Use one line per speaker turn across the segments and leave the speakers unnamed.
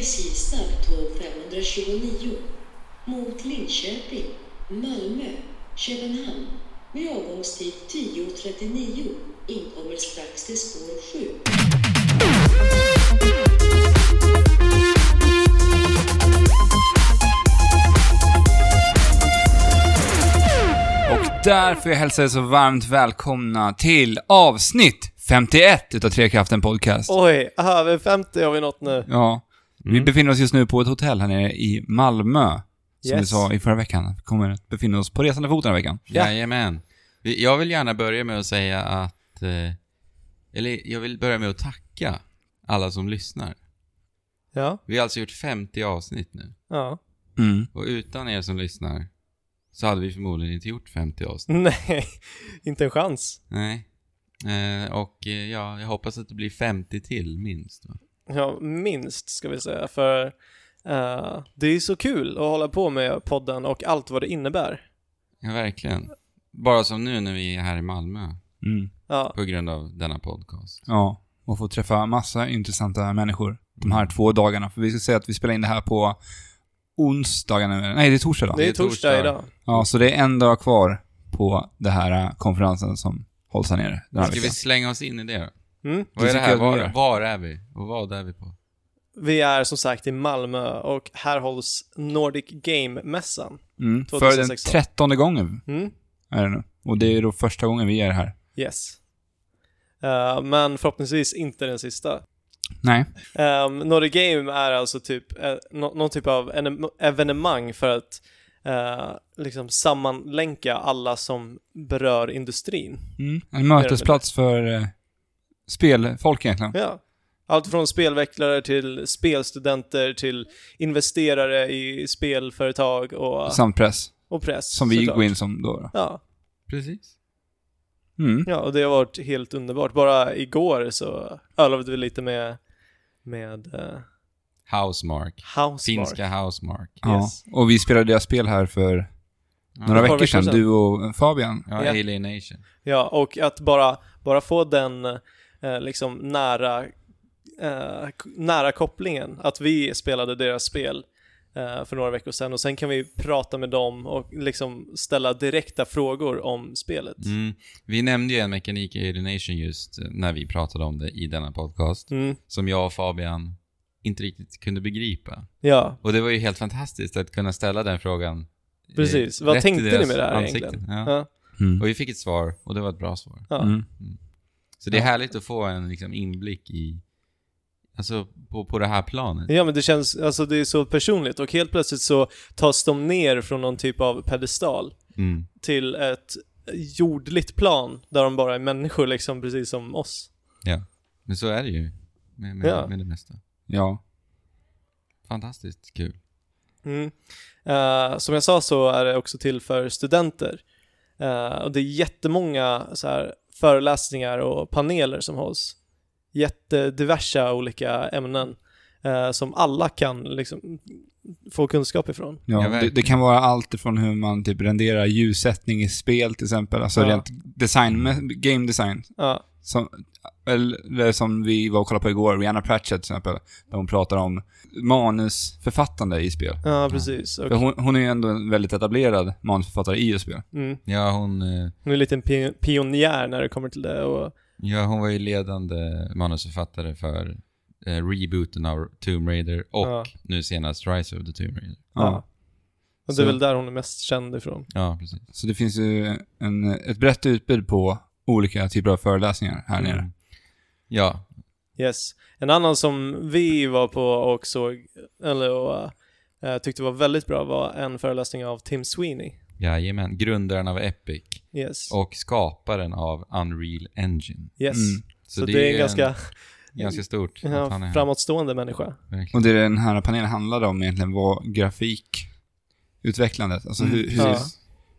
SJ snabbtåg 529 mot Linköping, Malmö, Köpenhamn med avgångstid 10.39 inkommer strax till spår 7.
Och där får jag hälsa er så varmt välkomna till avsnitt 51 utav Trekraften Podcast.
Oj, över 50 har vi nått nu.
Ja. Vi befinner oss just nu på ett hotell här nere i Malmö. Som vi
Yes.
sa i förra veckan. Vi kommer att befinna oss på resande fot den här veckan.
Ja.
Jajamän. Vi- Jag vill gärna börja med att säga att... eh, Eller jag vill börja med att tacka alla som lyssnar.
Ja,
Vi har alltså gjort 50 avsnitt nu.
ja.
Mm.
Och utan er som lyssnar så hade vi förmodligen inte gjort 50 avsnitt.
Nej, inte en chans.
Mm.
Nej. Eh, Och eh, ja, jag hoppas att det blir 50 till minst. Va?
Ja, minst ska vi säga, för eh, det är så kul att hålla på med podden och allt vad det innebär.
Ja, verkligen. Bara som nu när vi är här i Malmö
Mm.
Ja,
på grund av denna podcast.
Ja. Och få träffa massa intressanta människor de här två dagarna. För vi ska säga att vi spelar in det här på onsdagen. eller- Nej, det är torsdag då.
det
det
är
är
torsdag
torsdag.
idag.
Ja, så det är en dag kvar på den här eh, konferensen som hålls här nere den här
Ska
veckan.
vi slänga oss in i det då?
Mm.
Vad är
tycker
det här?
jag att vi gör.
Var, var är vi? Och vad är vi på?
Vi är som sagt i Malmö och här hålls Nordic Game-mässan.
Mm. För den
2016.
trettonde gången
Mm.
är det nu. Och det är då första gången vi är här.
Yes. Eh, men förhoppningsvis inte den sista.
Nej.
Um, Nordic Game är alltså typ eh, nå- någon typ av en- evenemang för att eh, liksom sammanlänka alla som berör industrin.
Mm. En mötesplats för eh, spelfolk egentligen.
Ja. Allt från spelvecklare till spelstudenter till investerare i spelföretag och,
Samt press.
och press.
Som vi
såklart.
går in som då. då.
Ja.
Precis.
Mm.
ja, och det har varit helt underbart. Bara igår så ölade vi lite med, med uh,
Housemark.
Housemark.
Finska Housemark.
Ja.
Yes.
Och vi spelade deras spel här för några
Ett par
veckor
veckor
sedan,
sedan.
du och Fabian.
Ja,
Ja.
Alienation.
Ja, och att bara, bara få den eh, liksom nära, eh, k- nära kopplingen, att vi spelade deras spel eh, för några veckor sedan och sen kan vi prata med dem och liksom ställa direkta frågor om spelet.
Mm. Vi nämnde ju en mekanik i Alienation just eh, när vi pratade om det i denna podcast,
Mm,
som jag och Fabian inte riktigt kunde begripa.
ja,
Och det var ju helt fantastiskt att kunna ställa den frågan. eh,
Precis. Vad
rätt i
tänkte ni
deras
med det här
ansikten.
egentligen?
Ja.
ja,
Mm.
Och vi fick ett svar, och det var ett bra svar.
ja.
Mm.
Så det är härligt att få en liksom, inblick i, alltså på, på det här planet.
ja, men det känns, alltså det är så personligt och helt plötsligt så tas de ner från någon typ av pedestal
Mm.
till ett jordligt plan där de bara är människor liksom, precis som oss.
Ja. Men så är det ju med, med,
Ja.
med det mesta.
Ja.
Fantastiskt kul.
Mm. Eh, som jag sa så är det också till för studenter. Eh, och det är jättemånga så här, föreläsningar och paneler som hålls. Jättediversa olika ämnen eh, som alla kan liksom, få kunskap ifrån.
Ja,
Ja,
det, det kan vara allt ifrån hur man typ renderar ljussättning i spel till exempel. Alltså
Ja.
rent design, game design.
Ja,
Som, eller som vi var och kollade på igår, Rihanna Pratchett till exempel. Där hon pratar om manusförfattande i spel.
ja precis. Och,
För hon, hon är ju ändå en väldigt etablerad manusförfattare i just spel.
mm,
Ja, hon... eh,
hon är en liten pi- pionjär när det kommer till det. Och,
Ja, hon var ju ledande manusförfattare för eh, rebooten av Tomb Raider och
Ja.
nu senast Rise of the Tomb Raider.
ja. och det är
Så-
väl där hon är mest känd ifrån.
Ja, precis.
Så det finns ju en, ett brett utbud på olika typer av föreläsningar här nere.
Mm. Ja,
Yes. En annan som vi var på och såg, eller och, eh, tyckte var väldigt bra var en föreläsning av Tim Sweeney.
jajamän. Grundaren av Epic
Yes.
och skaparen av Unreal Engine.
yes.
Mm.
Så, det, är en ganska
ganska stort att han
ja,
är
framåtstående människa.
framåt.
Och det den här panelen handlade om egentligen var grafikutvecklandet. Alltså hur, hur,
Mm. Ja.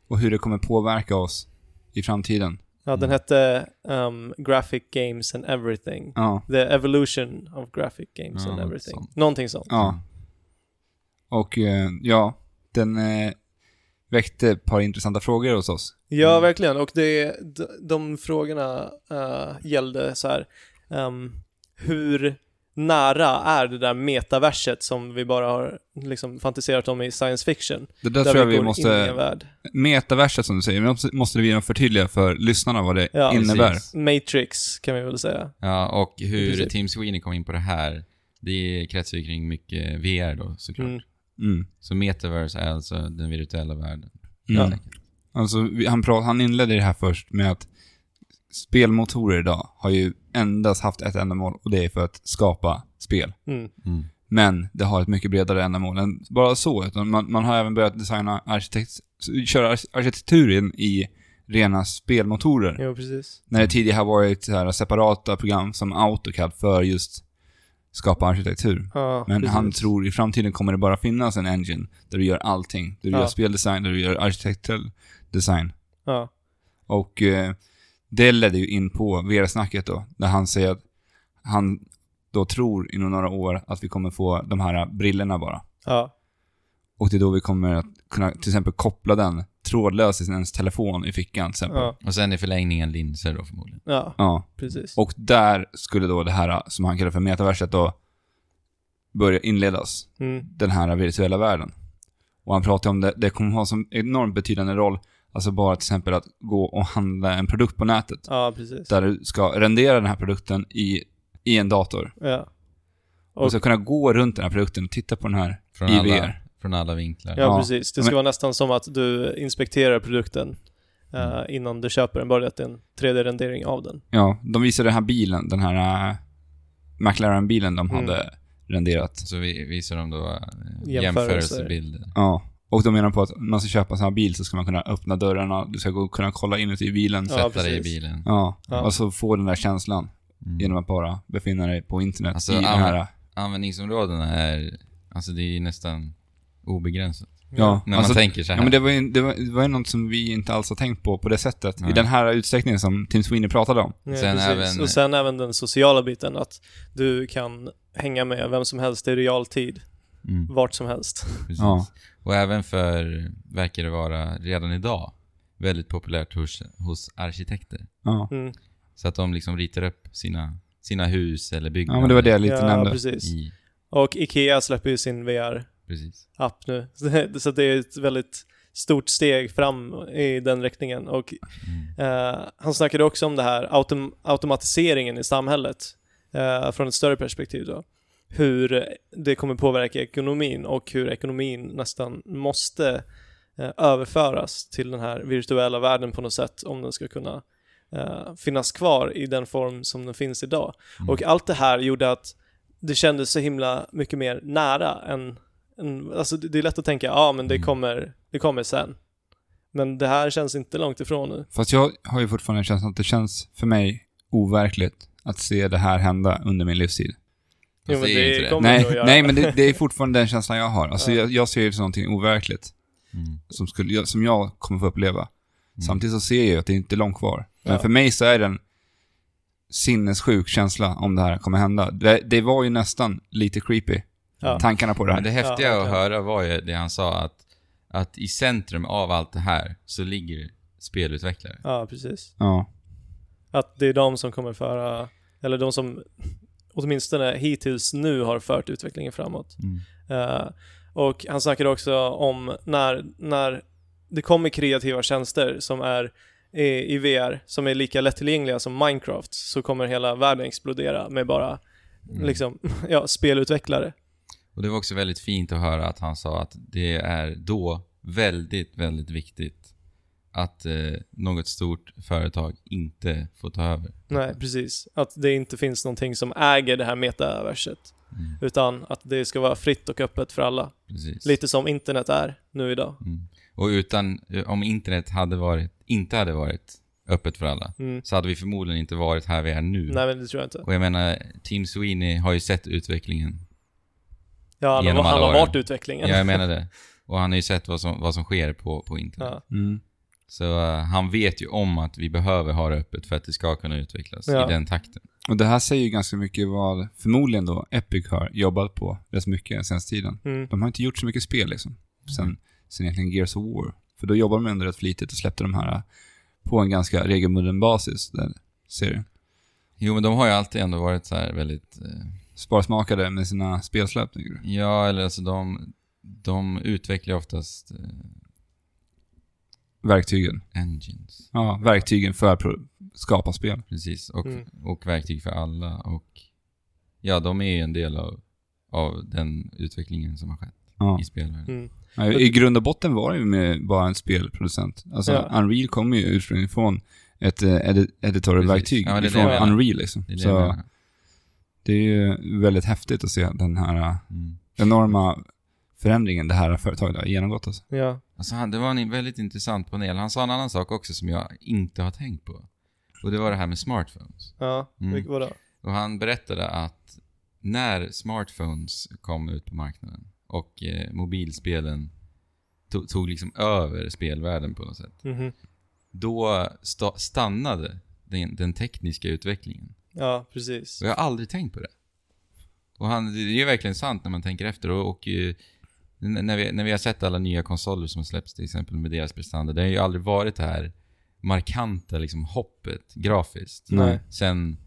och hur det kommer påverka oss i framtiden.
Ja, den hette um, Graphic Games and Everything.
Ja.
The Evolution of Graphic Games
Ja,
and
något
Everything.
sånt.
Någonting sånt.
Ja. Och eh, ja, den eh, väckte ett par intressanta frågor hos oss.
Ja, verkligen. Och det, de, de frågorna eh, gällde så här, ehm, hur nära är det där metaverset som vi bara har liksom fantiserat om i science fiction.
Det där, tror jag vi
går in i en
måste...
värld.
Metaverset som du säger, men måste vi förtydliga för lyssnarna vad det
Ja,
innebär.
precis.
Matrix kan vi väl säga.
Ja, och
I
hur
princip.
Tim Sweeney kom in på det här, det kretsar ju kring mycket VR då såklart.
Mm.
Mm.
Så metaverse är alltså den virtuella världen.
Mm. Alltså, vi- han, pra- han inledde det här först med att spelmotorer idag har ju endast haft ett ändamål och det är för att skapa spel.
Mm.
Mm.
Men det har ett mycket bredare ändamål än bara så. Utan man, man har även börjat designa arkitekt, köra ar- arkitekturen i rena spelmotorer.
Jo, precis.
När det tidigare har varit så här separata program som AutoCAD för just skapa arkitektur.
Ja,
Men
precis.
han tror i framtiden kommer det bara finnas en engine där du gör allting. Där du
Ja.
gör speldesign, där du gör arkitektuell design.
Ja.
Och eh, det ledde ju in på VR-snacket då, där han säger att han då tror inom några år att vi kommer få de här brillorna bara.
Ja.
Och det är då vi kommer att kunna till exempel koppla den trådlöst till ens telefon i fickan till exempel. Ja.
Ja.
Och sen i förlängningen linser då förmodligen.
ja, precis.
Och där skulle då det här som han kallar för metaverset då börja inledas.
Mm.
Den här virtuella världen. Och han pratar om det, det kommer ha som enormt betydande roll, alltså bara till exempel att gå och handla en produkt på nätet.
Ja, precis.
där du ska rendera den här produkten i, i en dator.
Ja.
Och,
Och-
ska kunna gå runt den här produkten och titta på den här
Från
i
alla,
VR.
från alla vinklar.
Ja,
Ja,
precis. Det ska vara nästan som att du inspekterar produkten eh,
Mm.
innan du köper den, bara det att det är en 3D-rendering av den.
Ja, de visade den här bilen, den här äh, McLaren-bilen de
Mm.
hade renderat.
Så vi visar de då eh,
Jämförelser.
jämförelsebilder.
Ja. Och de menar på att när man ska köpa en sån här bil så ska man kunna öppna dörrarna, du ska gå, kunna kolla inuti bilen.
Ja,
Ja.
Sätta dig i
precis.
bilen.
ja.
Ja.
Och så få den där känslan
Mm.
genom att bara befinna dig på internet
Alltså,
i den
ja,
här...
men-
äh,
Användningsområdena är, alltså det är ju nästan obegränsat.
Ja,
När
alltså,
man tänker så här.
Ja, men det var ju det var, det var ju något som vi inte alls har tänkt på på det sättet. I
Nej.
den här utsträckningen som Tim Sweeney pratade om.
Ja,
Sen
precis.
även-
Och sen även den sociala biten, att du kan hänga med vem som helst i realtid,
Mm,
vart som helst.
precis.
Ja.
Och även för, verkar det vara redan idag, väldigt populärt hos, hos arkitekter.
Ja.
Mm.
Så att de liksom ritar upp sina, sina hus eller byggnader.
Ja, men det var det jag lite
ja,
nämnde.
precis.
I,
Och Ikea släpper ju sin VR-app
precis.
nu, Så det- så det är ett väldigt stort steg fram i den riktningen. Och eh, han snackade också om det här autom- automatiseringen i samhället eh, från ett större perspektiv då. Hur det kommer påverka ekonomin och hur ekonomin nästan måste eh, överföras till den här virtuella världen på något sätt om den ska kunna eh, finnas kvar i den form som den finns idag. Och allt det här gjorde att det kändes så himla mycket mer nära än, än alltså det det är lätt att tänka, ja ah, men det kommer, det kommer sen. Men det här känns inte långt ifrån nu.
Fast jag har ju fortfarande känslan att det känns för mig overkligt att se det här hända under min livstid.
Fast
Jo, men
det är ju
det
inte det.
kommer
Nej,
nog att göra.
nej, men det, det är fortfarande den känslan jag har. Alltså, jag, jag ser det som någonting overkligt
Mm.
som, skulle, jag- som jag kommer få uppleva. Samtidigt så ser jag ju att det inte är långt kvar. Men
Ja.
för mig så är det en sinnessjuk känsla om det här kommer hända. Det, det var ju nästan lite creepy,
Ja.
tankarna på det
Men
här.
det häftiga
Ja,
att
verkligen.
höra var ju det han sa att, att i centrum av allt det här så ligger spelutvecklare.
Ja, precis.
Ja.
Att det är de som kommer föra, eller de som åtminstone hittills nu har fört utvecklingen framåt.
Mm.
Eh, och han snackade också om när, när det kommer kreativa tjänster som är i, i VR, som är lika lättillgängliga som Minecraft, så kommer hela världen explodera med bara liksom, ja, spelutvecklare.
Och det var också väldigt fint att höra att han sa att det är då väldigt, väldigt viktigt att eh, något stort företag inte får ta över.
Nej, precis. Att det inte finns någonting som äger det här metaverset.
Mm.
Utan att det ska vara fritt och öppet för alla.
Precis.
Lite som internet är nu idag.
Mm. Och utan, eh, om internet hade varit, inte hade varit öppet för alla,
Mm.
så hade vi förmodligen inte varit här vi är nu.
Nej, men det tror jag inte.
Och jag menar, Tim Sweeney har ju sett utvecklingen.
Ja, han, har-
Genom alla
han har
åren.
varit utvecklingen.
Ja, jag menar det. Och han har ju sett vad som, vad som sker på, på internet.
Ja.
Mm.
Så eh, han vet ju om att vi behöver ha det öppet för att det ska kunna utvecklas
Ja.
i den takten.
Och det här säger ju ganska mycket vad förmodligen då Epic har jobbat på rätt mycket senaste tiden.
Mm.
De har inte gjort så mycket spel liksom. Sen, sen egentligen Gears of War. För då jobbade de ändå rätt flitigt och släppte de här äh, på en ganska regelbunden basis, den serien.
Jo, men de har ju alltid ändå varit så här väldigt eh,
sparsmakade med sina spelsläpp, tycker du?
Ja, eller alltså de, de utvecklar oftast eh,
Verktygen.
engines.
Ja, verktygen för att pro- skapa spel.
Precis, och,
Mm.
och verktyg för alla. Och ja, de är ju en del av, av den utvecklingen som har skett
Ja.
i spelvärlden.
Mm.
Ja, I grund och botten var det ju med bara en spelproducent. Alltså,
Ja.
Unreal kom ju ursprungligen från ett eh, edi- editorverktyg
Precis. Ja, men det är det
från
jag menar.
Unreal liksom.
Det är det jag
Så
menar.
det är ju väldigt häftigt att se den här eh,
Mm.
enorma förändringen det här företaget har genomgått. Alltså.
Ja.
Alltså han, det var en väldigt intressant panel. Han sa en annan sak också som jag inte har tänkt på. Och det var det här med smartphones.
Ja.
Mm.
Vilk- Vadå?
Och han berättade att när smartphones kom ut på marknaden och eh, mobilspelen to- tog liksom över spelvärlden på något sätt.
Mhm.
Då sta- stannade den, den tekniska utvecklingen.
Ja, precis.
Och jag har aldrig tänkt på det. Och han, det är ju verkligen sant när man tänker efter. Och, och eh, n- när, vi, när vi har sett alla nya konsoler som har släppts till exempel med deras prestanda. Det har ju aldrig varit det här markanta liksom, hoppet grafiskt.
Nej.
Sen,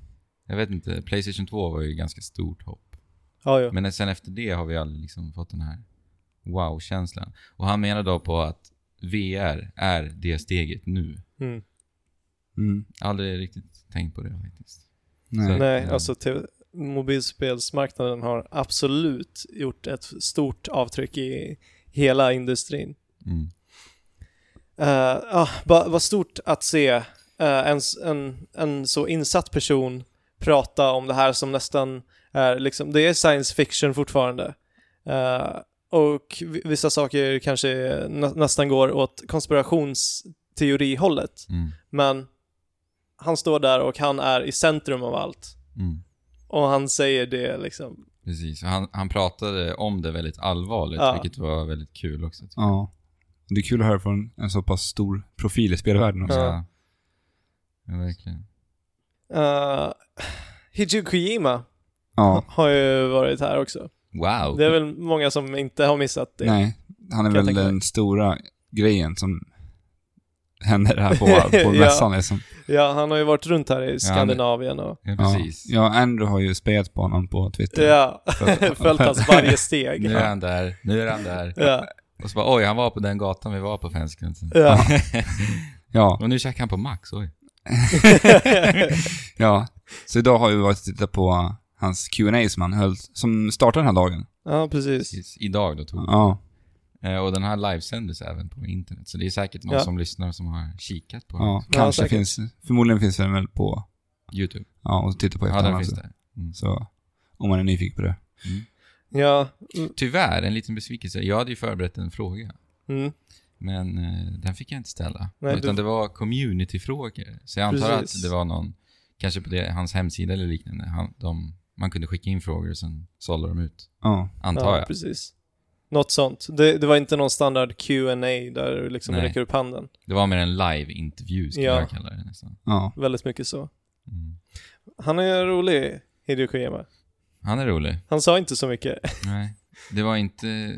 jag vet inte, Playstation 2 var ju ett ganska stort hopp.
Ja, ja.
Men sen efter det har vi aldrig liksom fått den här wow-känslan. Och han menar då på att VR är det steget nu.
Mm.
Mm.
Aldrig riktigt tänkt på det faktiskt.
Nej.
Nej,
Mm. Ja.
alltså te- mobilspelsmarknaden har absolut gjort ett stort avtryck i hela industrin.
Mm.
Eh, ah, ba, vad stort att se eh, en, s- en, en så insatt person prata om det här som nästan är liksom, det är science fiction fortfarande. Eh, och vi- vissa saker kanske är- nä, nästan går åt konspirationsteorihållet.
Mm.
Men han står där och han är i centrum av allt.
Mm.
Och han säger det liksom.
Precis, och han, han pratade om det väldigt allvarligt,
Ja.
vilket var väldigt kul också. tycker
Ja. Det är kul att höra från en så pass stor profil i spelvärlden också.
jag.
Ja.
Ja. ja, verkligen.
Uh, Hideo Kojima
Ja.
har ju varit här också.
Wow!
Det är väl många som inte har missat det.
Nej, han är
jag
väl
tänka mig.
den stora grejen som händer här på, på
Ja.
mässan liksom.
Ja, han har ju varit runt här i
Ja, han-
Skandinavien och
Ja,
Ja.
precis.
Ja, Andrew har ju spejat på honom på Twitter.
ja,
För-
följt hans varje steg.
Nu är han där, nu är han där.
Ja,
Och så bara, oj, han var på den gatan vi var på för en sekund sedan.
ja.
Ja,
Och nu käkar han på Max, oj.
ja. Så idag har vi varit och tittat på äh, hans Q&A som han höll, som startade den här dagen.
ja precis.
Precis. Idag då tog
Ja,
eh, Och den här livesändes även på internet, så det är säkert någon
Ja.
som lyssnar som har kikat på
ja.
Ja,
kanske
säkert.
finns, förmodligen finns den väl på,
YouTube.
ja, och titta på alltså.
Ja, den
efterhand
finns
också.
där. Mm.
Så, om man är nyfiken på det.
Ja,
Tyvärr, en liten besvikelse. Jag hade ju förberett en fråga.
mm.
Men eh, den fick jag inte ställa.
Nej,
utan
du-
det var communityfrågor. Så jag antar
Precis.
att det var någon, kanske på det, hans hemsida eller liknande. Han, de, man kunde skicka in frågor och sen sålde de ut.
Ja,
Antar
ja
jag.
precis. Något sånt. Det, det var inte någon standard Q&A där du liksom
Nej.
räcker upp handen.
Det var mer en live-intervju skulle
Ja.
jag kalla det nästan.
ja.
Väldigt mycket så.
Mm.
Han är rolig, Hideo Kojima.
Han är rolig.
Han sa inte så mycket.
Nej. Det var inte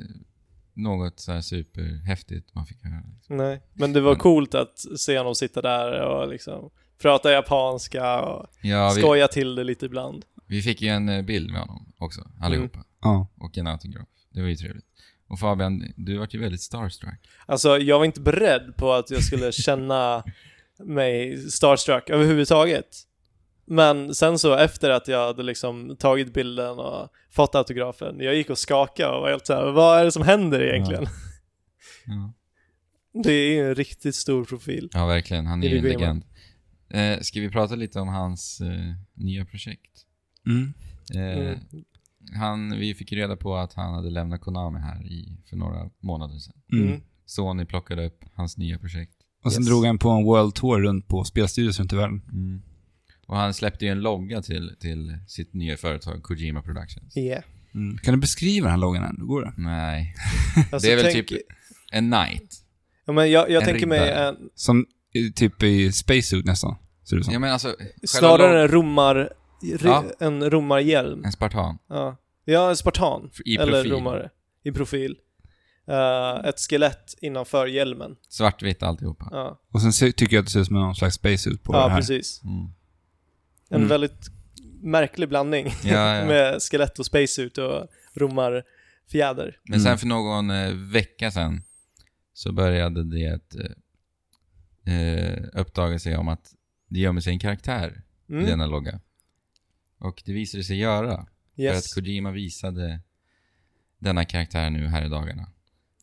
något så här superhäftigt man fick höra.
Nej. Men det var
Mm.
coolt att se honom sitta där och liksom prata japanska och
Ja, vi,
skoja till det lite ibland.
vi fick ju en eh, bild med honom också,
Mm.
allihopa.
ja.
Och en autograf. Det var ju trevligt. Och Fabian, du vart ju väldigt starstruck.
Alltså, jag var inte beredd på att jag skulle känna mig starstruck överhuvudtaget. Men sen så efter att jag hade liksom tagit bilden och fått autografen, jag gick och skakade och var helt såhär, vad är det som händer egentligen?
Ja.
Det är ju en riktigt stor profil.
Ja, verkligen. Han är
Är
ju en
det Greenman?
legend. Eh, ska vi prata lite om hans eh, nya projekt?
Mm.
Eh,
Mm.
han, vi fick ju reda på att han hade lämnat Konami här i, för några månader sedan.
Mm.
Mm.
Sony plockade upp hans nya projekt.
Och sen
Yes.
drog han på en world tour runt på spelstudios runt i världen.
Mm. Och han släppte ju en logga till, till sitt nya företag Kojima Productions.
Yeah.
Mm. Kan du beskriva den här loggan än? Går det?
Nej,
Alltså,
det är väl
tänk-
typ en knight.
Ja, men jag jag
en
tänker mig
riddare.
en,
Som i- typ i spacesuit nästan, ser det ut som.
Ja, men alltså, själva
snarare
log-
en romar... ri-
Ja.
En romarhjälm.
en spartan.
Ja, ja en spartan.
I
Eller
profil.
romare. I profil. Eh, ett skelett innanför hjälmen.
Svartvitt alltihopa.
Ja,
Och sen ser, tycker jag att det ser ut som någon slags spacesuit på det
ja
här.
precis.
Mm.
En
Mm.
väldigt märklig blandning
Ja, ja.
med skelett och spacesuit och romarfjäder.
Men sen för någon eh, vecka sen så började det eh, eh, uppdaga sig om att det gömmer sig en karaktär i
Mm.
denna logga. Och det visade sig göra. För att
Yes.
Kojima visade denna karaktär nu här i dagarna.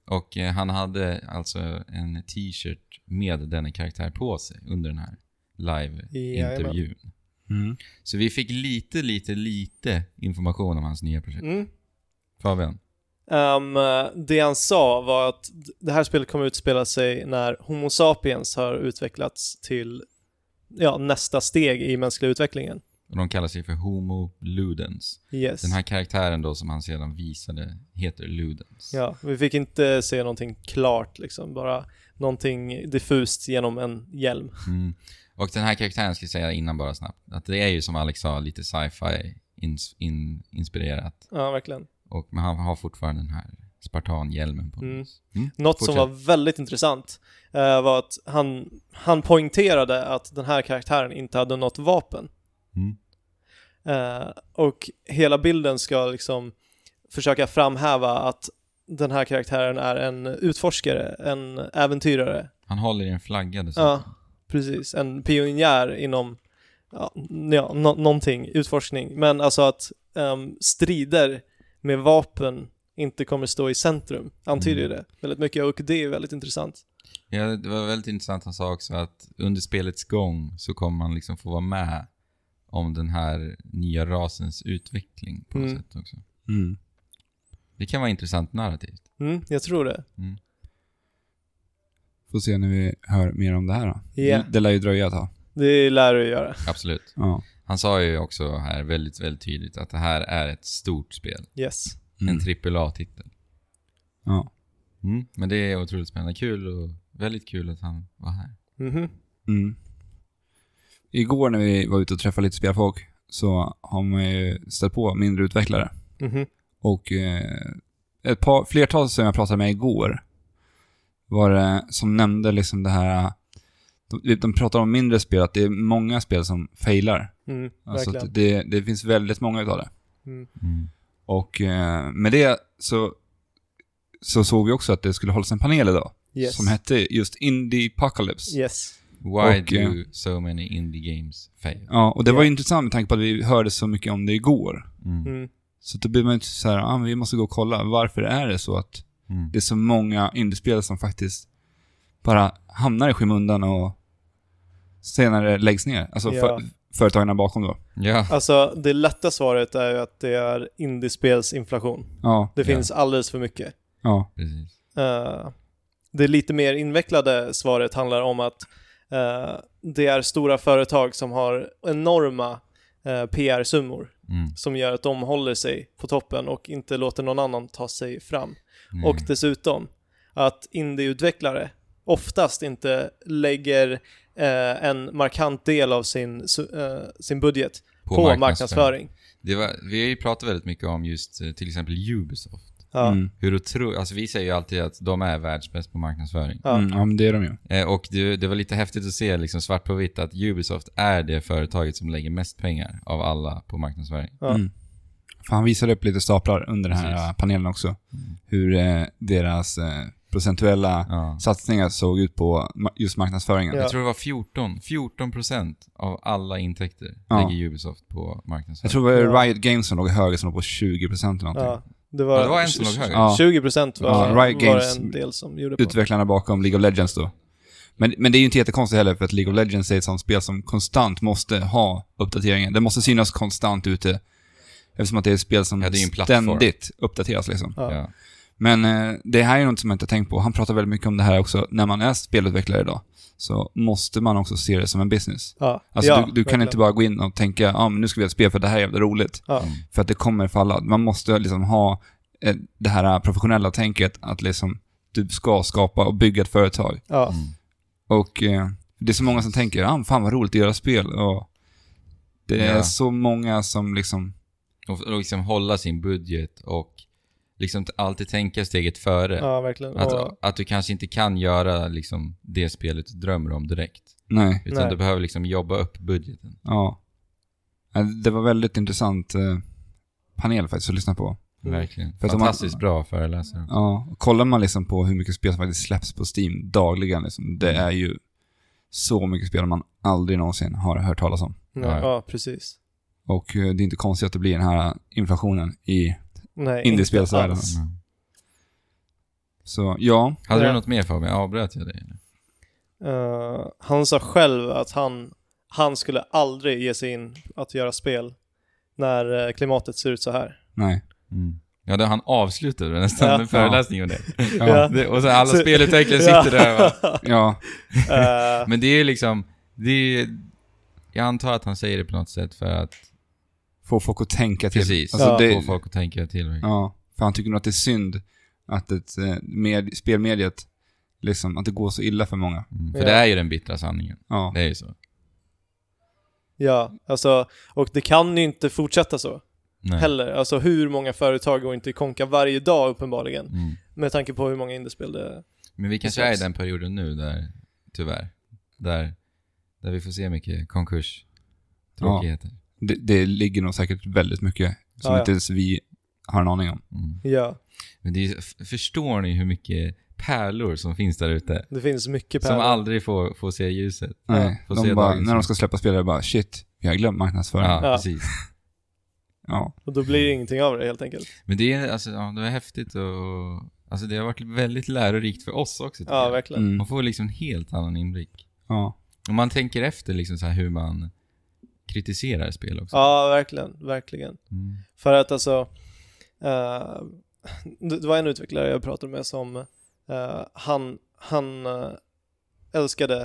Och eh, han hade alltså en t-shirt med denna karaktär på sig under den här live-intervjun.
Mm.
Så vi fick lite, lite, lite information om hans nya projekt.
Mm.
Fabian?
Ehm, det han sa var att det här spelet kommer utspela sig när Homo sapiens har utvecklats till ja, nästa steg i mänskliga utvecklingen.
Och de kallar sig för Homo Ludens.
Yes.
Den här karaktären då som han sedan visade heter Ludens.
Ja, vi fick inte se någonting klart liksom, bara någonting diffust genom en hjälm.
Mm. Och den här karaktären, ska jag säga innan bara snabbt, att det är ju som Alex sa, lite sci-fi ins- in- inspirerat.
Ja, verkligen.
Och, men han har fortfarande den här spartanhjälmen på
Mm.
Mm,
Något som
fortsätt.
var väldigt intressant eh, var att han, han poängterade att den här karaktären inte hade något vapen.
Mm.
Eh, och hela bilden ska liksom försöka framhäva att den här karaktären är en utforskare, en äventyrare.
Han håller i en flagga dessutom.
Ja, precis. En pionjär inom ja, n- ja, nå- någonting, utforskning. Men alltså att ehm, strider med vapen inte kommer stå i centrum, antyder
Mm.
ju det väldigt mycket och det är väldigt intressant.
Ja, det var väldigt intressant han sa också att under spelets gång så kommer man liksom få vara med om den här nya rasens utveckling på något
Mm.
sätt också.
Mm.
Det kan vara intressant narrativt.
Mm, jag tror det.
Får se när vi hör mer om det här då.
Ja.
Det- Det lär ju dröja ett tag.
Det lär du göra.
Absolut.
Ja.
Han sa ju också här väldigt, väldigt tydligt att det här är ett stort spel.
Yes.
Mm.
En trippel A-titel.
Ja.
Mm. Men det är otroligt spännande. Kul och väldigt kul att han var här.
Mhm.
Mm. Igår när vi var ute och träffade lite spelfolk så har man ju stött på mindre utvecklare.
Mhm.
Och eh, ett par, flertal som jag pratade med igår var det som nämnde liksom det här... De, de pratar om mindre spel, att det är många spel som failar.
Mm,
Alltså
verkligen.
att det, det finns väldigt många utav det.
Mm.
Och eh, med det så, så såg vi också att det skulle hållas en panel idag.
Yes.
Som hette just Indie Apocalypse.
Yes.
Why
Och, eh,
do so many indie games fail?
Ja, och det var
Ja.
ju intressant med tanke på att vi hörde så mycket om det igår.
Mm.
Mm.
Så då blir man ju så här, ah, men vi måste gå och kolla, varför är det så att
Mm.
det är så många indiespel som faktiskt bara hamnar i skymundan och senare läggs ner? Alltså
Ja.
för, företagen bakom då.
Ja.
Alltså, det lätta svaret är ju att det är indiespelsinflation.
Ja,
Det
Ja.
finns alldeles för mycket.
ja,
Precis.
Eh, det lite mer invecklade svaret handlar om att eh, det är stora företag som har enorma eh, PR-summor
Mm.
som gör att de håller sig på toppen och inte låter någon annan ta sig fram.
Mm.
Nej.
Och dessutom att indieutvecklare oftast inte lägger eh, en markant del av sin, su- eh, sin budget på, marknadsföring.
Det var, vi har ju pratat väldigt mycket om just eh, till exempel Ubisoft.
Ja,
Mm.
Hur otro, alltså vi säger ju alltid att de är världsbäst på marknadsföring.
Ja.
Mm, ja, men det är de ju.
Eh, och det, det var lite häftigt att se liksom svart på vitt att Ubisoft är det företaget som lägger mest pengar av alla på marknadsföring.
Ja.
Mm. För han visade upp lite staplar under den här
Precis. Mm.
panelen också. Hur eh, deras eh, procentuella
Ja.
satsningar såg ut på ma- just marknadsföringen.
Ja.
Jag tror det var 14, 14 procent av alla intäkter
Ja.
lägger Ubisoft på
Jag
marknadsföring.
tror det
Ja.
var Riot Games som låg högre, som låg på 20% eller någonting.
ja, det
Ja,
var,
det var en som låg högre.
Ja.
20 procent var,
Ja, Riot
var
Games
det en del som gjorde på.
Utvecklarna bakom League of Legends då. Men, men det är ju inte jättekonstigt heller, för att League of Legends är ett sånt spel som konstant måste ha uppdateringen. Det måste synas konstant ute, eftersom att det är ett spel som
Ja, det är ju en plattform.
ständigt uppdateras. Liksom.
Ja.
Ja.
Men eh, det här är något som jag inte har tänkt på. Han pratar väldigt mycket om det här också. När man är spelutvecklare idag, så måste man också se det som en business.
Ja,
Alltså,
ja,
du, du kan
verkligen.
inte Mm. bara gå in och tänka ah, men nu ska vi göra ett spel för det här är jävla roligt.
Ja.
För att det kommer falla. Man måste liksom ha eh, det här professionella tänket att liksom, du ska skapa och bygga ett företag.
Ja,
Och eh, det är så många som tänker ah, fan vad roligt att göra spel. Och det är
Ja.
så många som liksom...
Och, och liksom hålla sin budget och liksom t- alltid tänka steget före.
ja, verkligen.
Alltså,
Och,
Att, att du kanske inte kan göra liksom det spelet du drömmer om direkt.
Nej,
Utan
Nej.
du behöver liksom jobba upp budgeten.
ja. Nej, Ja, Det var väldigt intressant eh, panel faktiskt att lyssna på.
Mm.
Verkligen.
För att om man-
Fantastiskt bra föreläsare. också.
Ja, och kollar man liksom på hur mycket spel som faktiskt släpps på Steam dagligen, liksom, det är ju så mycket spel man aldrig någonsin har hört talas om.
Ja,
Ja.
ja precis.
Och eh, det är inte konstigt att det blir den här inflationen i
Nej,
indiespelsvärlden.
inte alls.
Mm.
Så ja,
Hade
Ja.
du något mer Fabian? Avbröt jag dig? eller?
Eh, han sa själv att han, han skulle aldrig ge sig in att göra spel när eh, klimatet ser ut så här.
nej.
Mm. Ja, det, han avslutade väl nästan
Ja.
med föreläsningen om det.
Ja,
Ja.
ja.
det. Och så alla
Så-
spelutvecklare sitter där och bara,
Eh,
Men det är liksom, det är, jag antar att han säger det på något sätt för att
få folk att tänka till.
Precis.
Alltså,
Ja.
det,
få folk att tänka till.
Ja, för han tycker nog att det är synd att ett, eh, med, spelmediet, liksom, att det går så illa för många.
Mm. För
Ja.
det är ju den bittra sanningen.
Ja,
Det är ju så.
ja, alltså, och det kan ju inte fortsätta så
Nej.
heller. Alltså hur många företag går inte i konka varje dag uppenbarligen.
Mm.
Med tanke på hur många indiespel det
Men vi kanske är i
Precis.
den perioden nu där, tyvärr, där, där vi får se mycket konkurs. Tråkigheter.
det, det ligger nog säkert väldigt mycket som
Ja, ja.
inte ens vi har en aning om.
Mm.
Ja,
Men det är, ju- f- förstår ni hur mycket pärlor som finns där ute?
det finns mycket
Som
pärlor.
aldrig får, får se ljuset.
Nej,
får se
de bara,
dagens
när de
ljus.
ska släppa spelare bara shit, vi har glömt marknadsföring.
Ja,
Ja.
Ja.
precis.
Och då blir det ingenting av det helt enkelt.
Men det är, alltså, ja, det var häftigt och... Alltså det har varit väldigt lärorikt för oss också. tycker
Ja,
jag.
verkligen.
Mm.
Man får liksom en helt annan inblick.
Ja.
Om man tänker efter liksom så här hur man kritiserar spel också.
Ja, verkligen, verkligen.
Mm.
För att alltså, eh, det det var en utvecklare jag pratade med som, eh, han, han eh, älskade,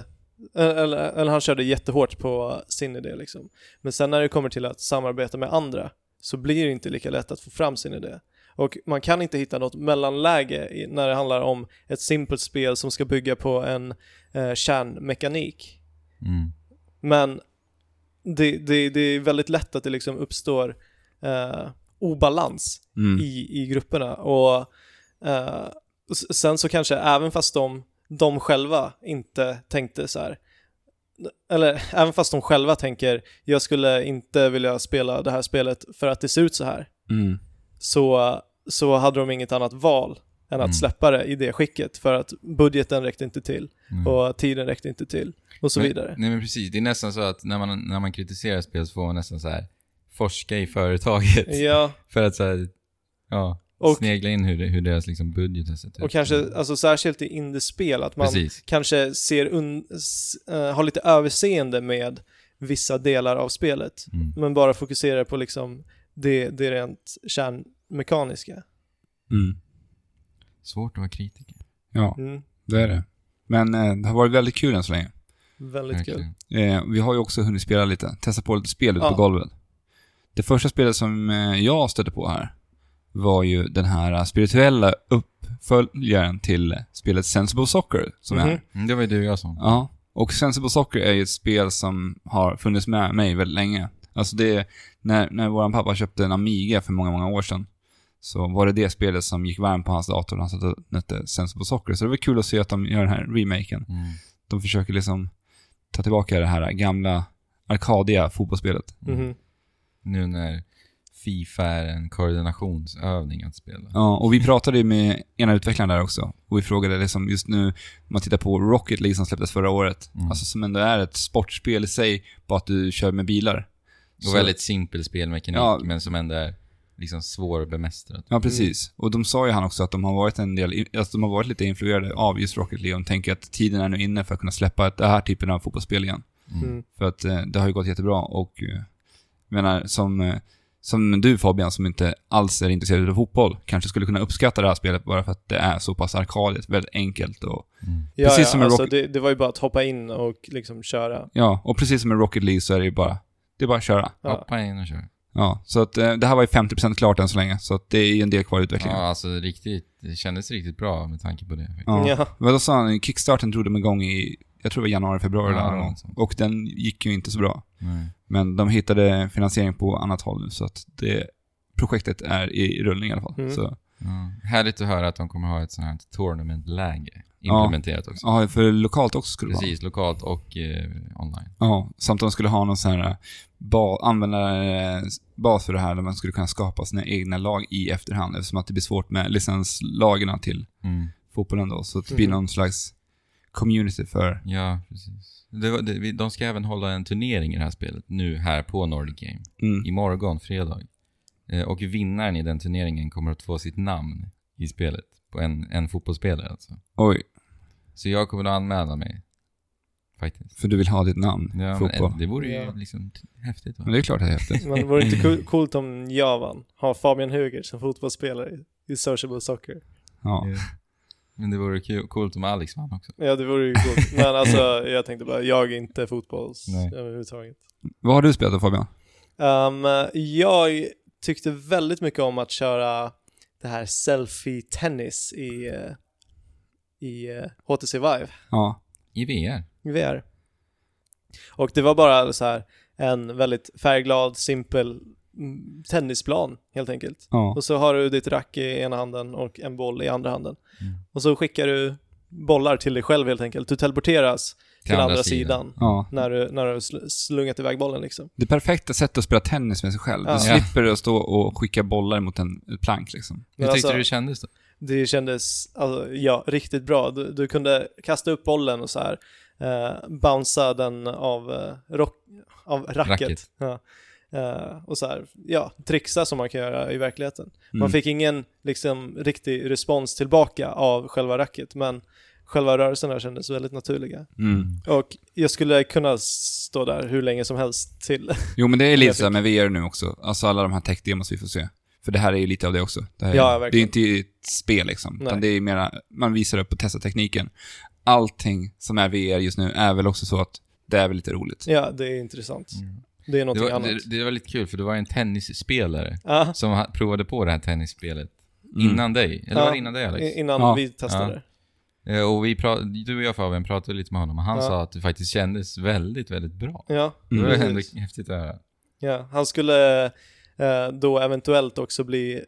eh, eller, eller han körde jättehårt på sin idé liksom. Men sen när det kommer till att samarbeta med andra så blir det inte lika lätt att få fram sin idé. Och man kan inte hitta något mellanläge i- när det handlar om ett simpelt spel som ska bygga på en eh, kärnmekanik.
Mm.
Men det, det, det är väldigt lätt att det liksom uppstår eh, obalans
Mm.
i, i grupperna. Och eh, s- sen så kanske även fast de, de själva inte tänkte så här, eller även fast de själva tänker jag skulle inte vilja spela det här spelet för att det ser ut så här,
Mm.
så, så hade de inget annat val än att
Mm.
släppa det i det skicket för att budgeten räckte inte till
Mm.
och tiden räckte inte till och så vidare.
Men, nej men precis, det är nästan så att när man, när man kritiserar spel så får man nästan så här forska i företaget.
Ja,
För att så här, ja,
Och-
snegla in hur, det- hur deras liksom budget har sett ut. Mm.
Och kanske, alltså särskilt i indiespel, att man
Precis.
kanske ser un- s- eh, har lite överseende med vissa delar av spelet.
Mm.
Men bara fokuserar på liksom det, det rent kärnmekaniska.
Mm.
Svårt att vara kritiker.
Ja,
Mm.
det är det. Men eh, det har varit väldigt kul än så länge.
Väldigt kul.
Verkligen.
Eh, vi har ju också hunnit spela lite, testa på lite spel ute
Ja.
på golvet. Det första spelet som eh, jag stötte på här var ju den här eh, spirituella uppföljaren till spelet Sensible Soccer, som är
Mhm.
här.
Mm, det var ju du och jag som.
Ja, och Sensible Soccer är ju ett spel som har funnits med mig väldigt länge. Alltså det är, när, när vår pappa köpte en Amiga för många, många år sedan, så var det det spelet som gick varmt på hans dator, han satte hette Sensible Soccer. Så det var kul att se att de gör den här remaken.
Mm.
De försöker liksom ta tillbaka det här gamla arkadiga fotbollsspelet.
Mhm.
Nu när Fifa är en koordinationsövning att spela.
Ja, och vi pratade ju med ena utvecklaren där också. Och vi frågade liksom just nu, om man tittar på Rocket League som släpptes förra året,
Mm.
alltså som ändå är ett sportspel i sig, bara att du kör med bilar.
Och
Så-
väldigt simpel spelmekanik,
Ja.
men som ändå är liksom svår att bemästra.
Ja, precis. Och de sa ju han också att de har varit en del, alltså de har varit lite influerade av just Rocket League. De tänker att tiden är nu inne för att kunna släppa ett- den här typen av fotbollsspel igen.
Mm.
För att eh, det har ju gått jättebra och eh, jag menar, som, eh, som du Fabian, som inte alls är intresserad av fotboll, kanske skulle kunna uppskatta det här spelet bara för att det är så pass arkadiskt, väldigt enkelt och
Ja,
Precis
ja,
som en
alltså,
rock-
det, det var ju bara att hoppa in och liksom köra.
ja, och precis som i Rocket League så är det ju bara, det är bara att köra.
Ja.
Hoppa in och kör.
Ja, så att eh, det här var ju 50% klart än så länge, så att det är ju en del kvar i
Ja,
utvecklingen.
alltså riktigt, det kändes riktigt bra med tanke på det.
Ja.
Ja.
Vad då sa han? Kickstarten drog de igång i, jag tror det var januari, februari
Ja,
eller någon gång.
något sånt.
Och den gick ju inte så bra.
Nej.
Men de hittade finansiering på annat håll nu, så att det projektet är i rullning i alla fall.
Mm.
Så,
Ja. Härligt att höra att de kommer ha ett sånt här tournament-läge. implementerat också.
Ja, för lokalt också skulle det vara.
Precis, lokalt och eh, online.
Ja, samt att de skulle ha någon sån här ba, användarbas för det här där man skulle kunna skapa sina egna lag i efterhand eftersom att det blir svårt med licenslagarna till fotbollen då. Så att det blir
Mhm.
någon slags community för...
Ja, precis. Det, var- det, vi- de ska även hålla en turnering i det här spelet nu här på Nordic Game.
Mm.
Imorgon, fredag. Eh, och vinnaren i den turneringen kommer att få sitt namn i spelet. På en, en fotbollsspelare alltså.
Oj,
Så jag kommer att anmäla mig. Faktiskt.
för du vill ha ditt namn,
Ja,
fotboll.
Men, det vore ju
Ja.
liksom t- häftigt va?
Men det är klart det är häftigt.
Men vore det inte co- coolt om jag vann? Ha Fabian Huger som fotbollsspelare i- i Sociable Soccer.
Ja.
Men det vore kul, coolt om Alex vann också.
Ja, det vore ju coolt. Men alltså, jag tänkte bara, jag är inte fotbolls
Nej.
överhuvudtaget.
Vad har du spelat då Fabian?
Ehm, jag tyckte väldigt mycket om att köra det här selfie-tennis i, eh, i eh, HTC Vive
Ja.
I VR.
i VR. Och det var bara så här en väldigt färgglad, simpel mm, tennisplan helt enkelt.
ja.
Och så har du ditt rack i ena handen och en boll i andra handen. Och så skickar du bollar till dig själv helt enkelt. Du teleporteras till, andra, sidan,
Ja.
när du när du sl- slungat iväg bollen liksom.
Det perfekta sättet att spela tennis med sig själv.
Ja.
Du slipper att stå och skicka bollar mot en ett plank liksom.
Hur
Men
tyckte
alltså-
du det kändes då?
Det kändes alltså, ja, riktigt bra. Du, du kunde kasta upp bollen och så här eh, bouncea den av, eh, rock, av racket.
Racket.
Ja. Eh, och så här, ja, trixa som man kan göra i verkligheten. Man
Mm.
fick ingen liksom, riktig respons tillbaka av själva racket, men själva rörelserna kändes väldigt naturliga.
Mm.
Och jag skulle kunna stå där hur länge som helst till.
Jo, men det är lite
Jag
så här med VR nu också. Alltså alla de här tech-demos vi får se. För det här är ju lite av det också. Det, här
Ja,
är, det är ju
verkligen.
inte ett spel liksom.
Nej.
Utan det är mera, man visar upp och testar tekniken. Allting som är VR just nu är väl också så att det är väl lite roligt.
ja, det är intressant. Det är
Mm. Det
någonting
var,
annat.
det, det var lite kul för det var en tennisspelare
Ja,
som ha- provade på det här tennisspelet
Mm.
innan dig. Eller var det innan dig Alex?
Mm. i- innan
Ja.
vi testade.
Eh, Och vi pra- du och jag Fabian pratade lite med honom och han
Ja.
sa att det faktiskt kändes väldigt, väldigt bra.
Ja,
Det var ändå
precis.
häftigt att höra.
ja. Han skulle eh, då eventuellt också bli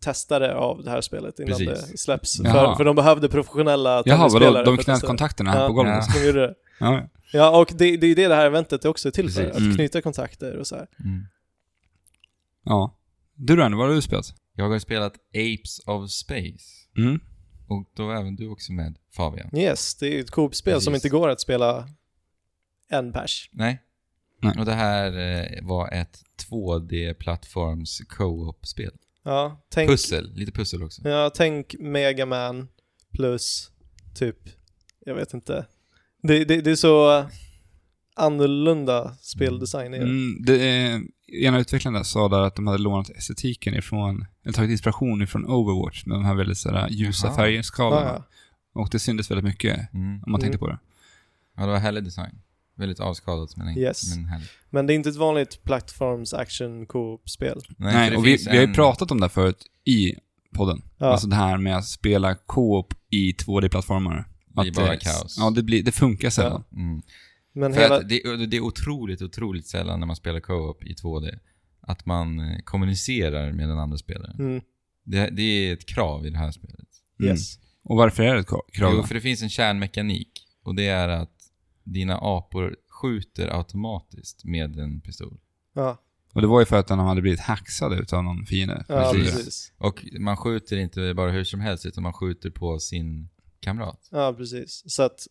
testare av det här spelet innan
Precis.
det släpps.
Jaha.
För, för de behövde professionella
Jaha,
tennisspelare.
vadå?
för
De
att
knöt
testa det.
kontakterna här
Ja.
på golvet?
Ja.
alltså?
De gjorde det.
Ja.
Ja, och det, det är det det här eventet är också till för,
Precis.
att
Mm.
knyta kontakter och så här.
Mm.
ja. Du Randy, vad har du spelat?
Jag har spelat Apes of Space.
Mm.
Och då var även du också med Fabian.
Yes, det är ju ett Coop-spel som
Precis.
inte går att spela en pers.
Nej?
Nej.
Och det här eh, var ett 2D-plattforms co-op-spel.
Ja, tänk,
Pussel, lite pussel också.
Ja, tänk Mega Man plus typ, jag vet inte. Det, det, det är så annorlunda speldesign. är det.
Mm, det, eh, ena utvecklaren där sa där att de hade lånat estetiken ifrån, eller tagit inspiration ifrån Overwatch med de här väldigt så här, ljusa
Jaha.
färgskalorna.
Ah. Ja,
Och det syndes väldigt mycket
Mm.
om man tänkte
Mm.
på det.
Ja, det var härlig design. Väldigt avskalat men,
Yes.
men härligt.
Men det är inte ett vanligt plattforms action co-op spel.
Nej, för
Nej,
det
och vi,
finns
vi har ju
en-
pratat om det här förut i podden.
Ja.
Alltså det här med att spela co-op i 2D-plattformar.
Det blir
Att
bara kaos.
Ja, det, blir, det funkar sällan.
Mm.
Men
För
hela,
att det, det är otroligt, otroligt sällan när man spelar co-op i 2D att man eh, kommunicerar med den andra spelaren.
mm,
Det, det är ett krav i det här spelet.
Mm.
yes.
Och varför är det ett ka- krav?
Jo,
då?
för det finns en kärnmekanik och det är att dina apor skjuter automatiskt med en pistol.
Ja,
Och det var ju för att de hade blivit hacksade utav någon fiende.
ja
Precis.
precis.
Och man skjuter inte bara hur som helst utan man skjuter på sin kamrat.
Ja, precis. Så att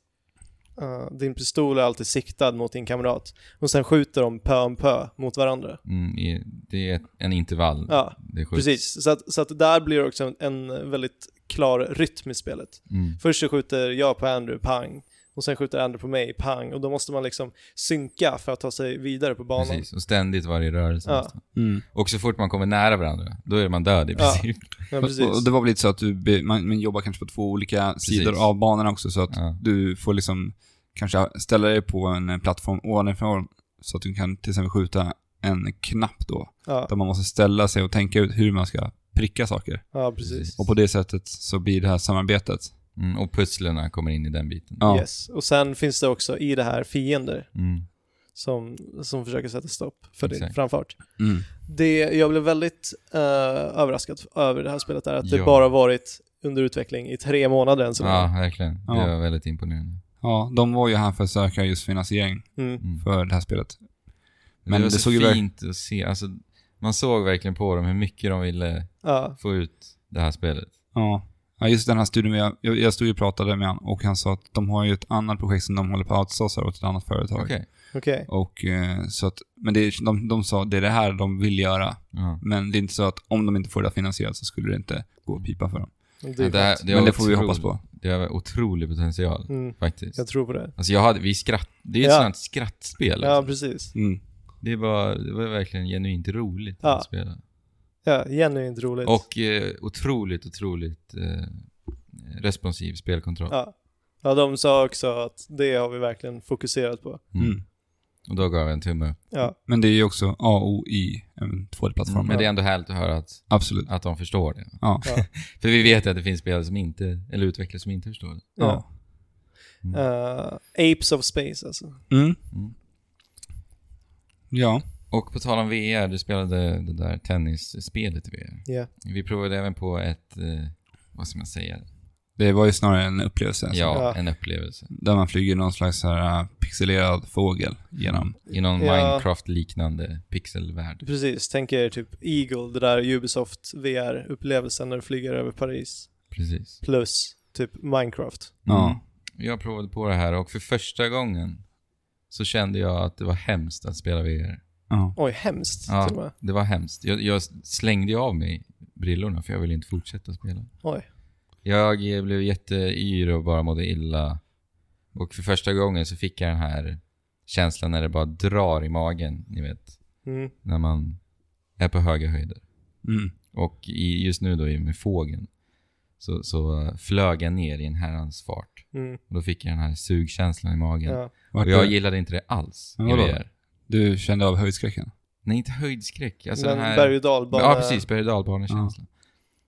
eh, din pistol är alltid siktad mot din kamrat. Och sen skjuter de pö om pö mot varandra.
Mm, i- det är en intervall.
Ja,
det skjuts.
Precis, så att, så att där blir det också en, en väldigt klar rytm i spelet.
Mm.
Först så skjuter jag på Andrew, pang. Och sen skjuter Andrew på mig, pang. Och då måste man liksom synka för att ta sig vidare på banan.
Precis, och ständigt varje rörelse.
Ja.
nästan.
Mm.
Och så fort man kommer nära varandra, då är man död i
Ja.
princip.
Ja,
Och-
precis.
Och det var väl lite så att du, be- man, man jobbar kanske på två olika sidor av banorna också, så att
Ja.
du får liksom kanske ställa dig på en eh, plattform ovanifrån, så att du kan till exempel skjuta en knapp då,
Ja,
där man måste ställa sig och tänka ut hur man ska pricka saker.
ja, precis.
Och på det sättet så blir det här samarbetet.
Mm, och pusslerna kommer in i den biten.
Ja,
Yes. Och sen finns det också i det här fiender
Mm.
som, som försöker sätta stopp för din
Exakt.
framfart.
mm.
Det jag blev väldigt eh, överraskad över det här spelet är att det
Ja.
bara varit under utveckling i tre månader än så
Ja,
länge.
verkligen.
Ja.
Det var väldigt imponerande.
Ja, de var ju här för att söka just finansiering
Mm.
för det här spelet. Men
det var
det
så
såg ju verk-
fint att se. Alltså, man såg verkligen på dem hur mycket de ville
Ja.
få ut det här spelet.
Ja. ja just den här studion, jag, jag, jag stod ju och pratade med han och han sa att de har ju ett annat projekt som de håller på att outsourca åt ett annat företag.
Okej.
Okej.
Och, eh, så att, men det, är- de, de sa att det är det här de vill göra.
Ja.
Men det är inte så att om de inte får det finansierat så skulle det inte gå att pipa för dem.
Det
Ja,
är
det här-
skönt.
men det
har
får vi
otro-
hoppas på.
Det har otrolig potential,
Mm.
faktiskt.
Jag tror på det.
Alltså jag hade, vi skratt, det är ju
Ja.
ett sånt skrattspel.
Ja,
Liksom.
precis.
Mm.
Det, var, det var verkligen genuint roligt
Ja.
att spela.
Ja, genuint roligt.
Och eh, otroligt, otroligt eh, responsiv spelkontroll.
Ja. ja, de sa också att det har vi verkligen fokuserat på.
Mm.
Mm.
Och då gav jag en tumme upp.
Ja,
Men det är ju också AO i en 2D-plattform.
Men det är ändå härligt att höra att,
Absolut.
att de förstår det.
Ja.
Ja.
För vi vet ju att det finns spelare som inte, eller utvecklare som inte förstår det.
ja.
Eh, Apes of Space alltså.
Mm.
Mm.
Ja.
Och på tal om VR, du spelade det där tennisspelet i VR.
Ja.
Vi provade även på ett, eh, vad ska man säga,
Det var ju snarare en upplevelse. alltså.
ja,
Ja.
en upplevelse.
Där man flyger någon slags så här äh, pixelerad fågel genom.
I någon
Ja.
Minecraft-liknande pixelvärld.
Precis, tänk er typ Eagle, det där Ubisoft VR-upplevelsen när du flyger över Paris.
Precis.
Plus typ Minecraft.
Ja.
Jag provade på det här och för första gången så kände jag att det var hemskt att spela VR.
ja.
Oj, hemskt
Ja.
till och med.
Det var hemskt. Jag, jag slängde ju av mig brillorna för jag ville inte fortsätta spela.
Oj.
Jag eh, blev jätteyr och bara mådde illa. Och för första gången så fick jag den här känslan när det bara drar i magen, ni vet.
Mm.
När man är på höga höjder.
Mm.
Och i, just nu då i- med fågeln så, så eh, flög jag ner i en herrans fart.
Mm.
Och då fick jag den här sugkänslan i magen.
Ja.
Vart
Och jag
du,
gillade inte det alls i
Men vadå?
VR.
du kände av höjdskräcken?
Nej, inte höjdskräck. Alltså
Men
den här...
berg och dalbana.
Ja, precis. Berg och dalbanekänsla.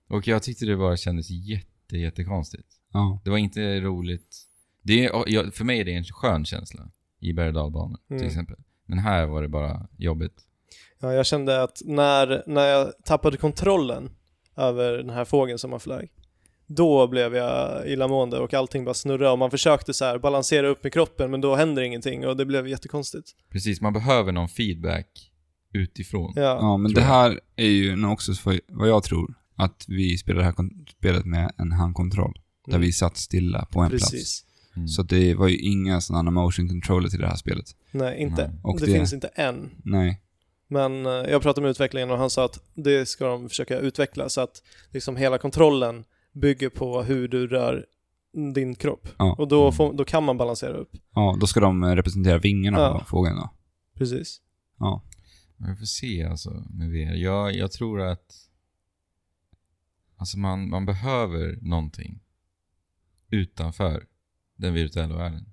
Och jag tyckte det bara kändes jätte, jättekonstigt.
Ja.
Det var inte roligt. Det är, jag, för mig är det en skön känsla i berg och dalbanor till
Mm.
exempel. Men här var det bara jobbigt.
Ja, jag kände att när, när jag tappade kontrollen över den här fågeln som man flög, då blev jag illamående och allting bara snurrade och man försökte så här balansera upp med kroppen men då händer ingenting och det blev jättekonstigt.
Precis, man behöver någon feedback utifrån.
Ja,
Ja, men det
tror jag.
här är ju nog också för vad jag tror, att vi spelar det här kon- spelet med en handkontroll. Där
Mm.
vi satt stilla på en plats.
precis.
Mm.
Så det var ju inga sådana motion controller till det här spelet.
Nej, inte.
Nej.
Och
Det,
det-
finns inte än.
Nej.
Men eh, jag pratade med utvecklingen och han sa att det ska de försöka utveckla så att liksom hela kontrollen bygger på hur du rör din kropp.
Ja.
Och
Mm.
då, får, då kan man balansera upp.
Ja, då ska de eh, representera vingarna
Ja.
på fågeln då.
Precis.
Ja.
Vi får se alltså med VR. Jag, jag tror att alltså man, man behöver någonting utanför den virtuella världen.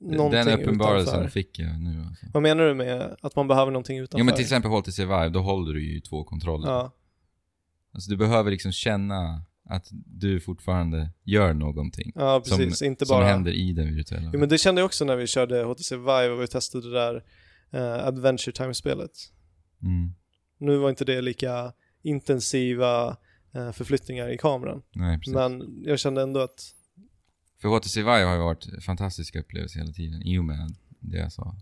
Någonting
den uppenbarelsen
utanför.
fick jag nu alltså.
Vad menar du med att man behöver någonting utanför?
Ja men till exempel Halt to Survive, då håller du ju i två kontroller.
Ja,
Alltså du behöver liksom känna att du fortfarande gör någonting.
ja precis. inte
som
bara...
händer i den virtuella
Jo,
världen.
men det kände jag också när vi körde HTC Vive och vi testade det där eh, Adventure Time-spelet.
mm.
Nu var inte det lika intensiva eh, förflyttningar i kameran.
Nej, precis.
Men jag kände ändå att,
För HTC Vive har ju varit fantastiska upplevelser hela tiden i och med det jag sa.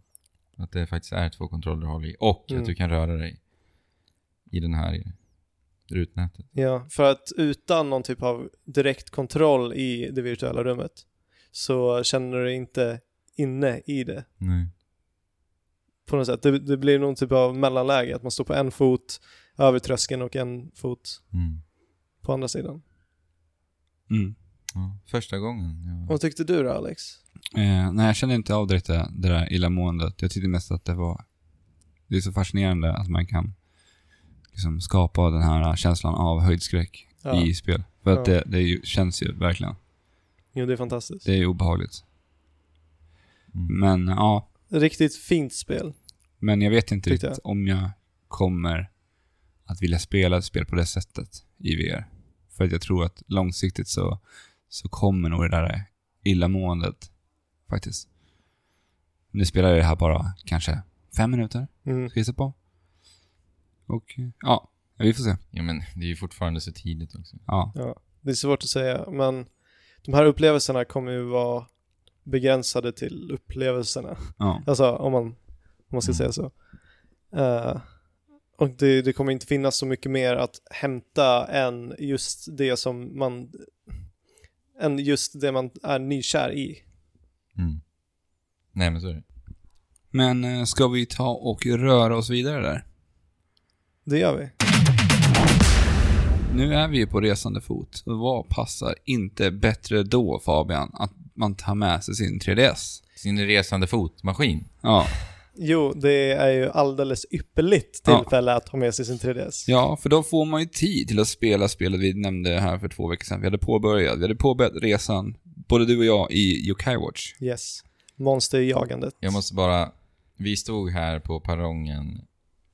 Att det faktiskt är två kontroller du håller i och
Mm.
att du kan röra dig i den här rutnätet.
ja, för att utan någon typ av direkt kontroll i det virtuella rummet så känner du dig inte inne i det
Nej.
på något sätt. Det, det blir någon typ av mellanläge, att man står på en fot över tröskeln och en fot
Mm.
på andra sidan.
Mm.
Ja. Första gången. Jag...
Vad tyckte du då Alex?
Eh, nej, jag kände inte av direkt det, det där illamåendet. Jag tyckte mest att det var... Det är så fascinerande att man kan liksom skapa den här känslan av höjdskräck
Ja.
i spel. För att
Ja.
det, det är ju, känns ju verkligen.
Jo, det är fantastiskt.
Det är ju obehagligt.
Mm.
Men ja,
Riktigt fint spel.
men jag vet inte
Tyckte
riktigt om jag kommer att vilja spela ett spel på det sättet i VR. För att jag tror att långsiktigt så, så kommer nog det där illamåendet faktiskt. Nu spelar jag det här bara kanske fem minuter,
Mm.
ska jag gissa på. Och ja, vi får se.
Ja men det är ju fortfarande så tidigt också.
Ja,
Ja, Det är svårt att säga, men de här upplevelserna kommer ju vara begränsade till upplevelserna.
Ja.
Alltså om man, om man ska säga så. Eh, och det, det kommer inte finnas så mycket mer att hämta än just det som man än just det man är nykär i.
Mm. Nej men så är det.
Men eh, ska vi ta och röra oss vidare där?
Det gör vi.
Nu är vi ju på resande fot. Och vad passar inte bättre då, Fabian, att man tar med sig sin 3DS?
Sin resande fotmaskin.
Ja,
Jo, det är ju alldeles ypperligt
Ja.
tillfälle att ha med sig sin 3DS.
ja för då får man ju tid till att spela spelet vi nämnde här för två veckor sedan. Vi hade påbörjat, vi hade påbörjat resan, både du och jag, i Yokai Watch.
Yes. Monsterjagandet.
Jag måste bara... Vi stod här på perrongen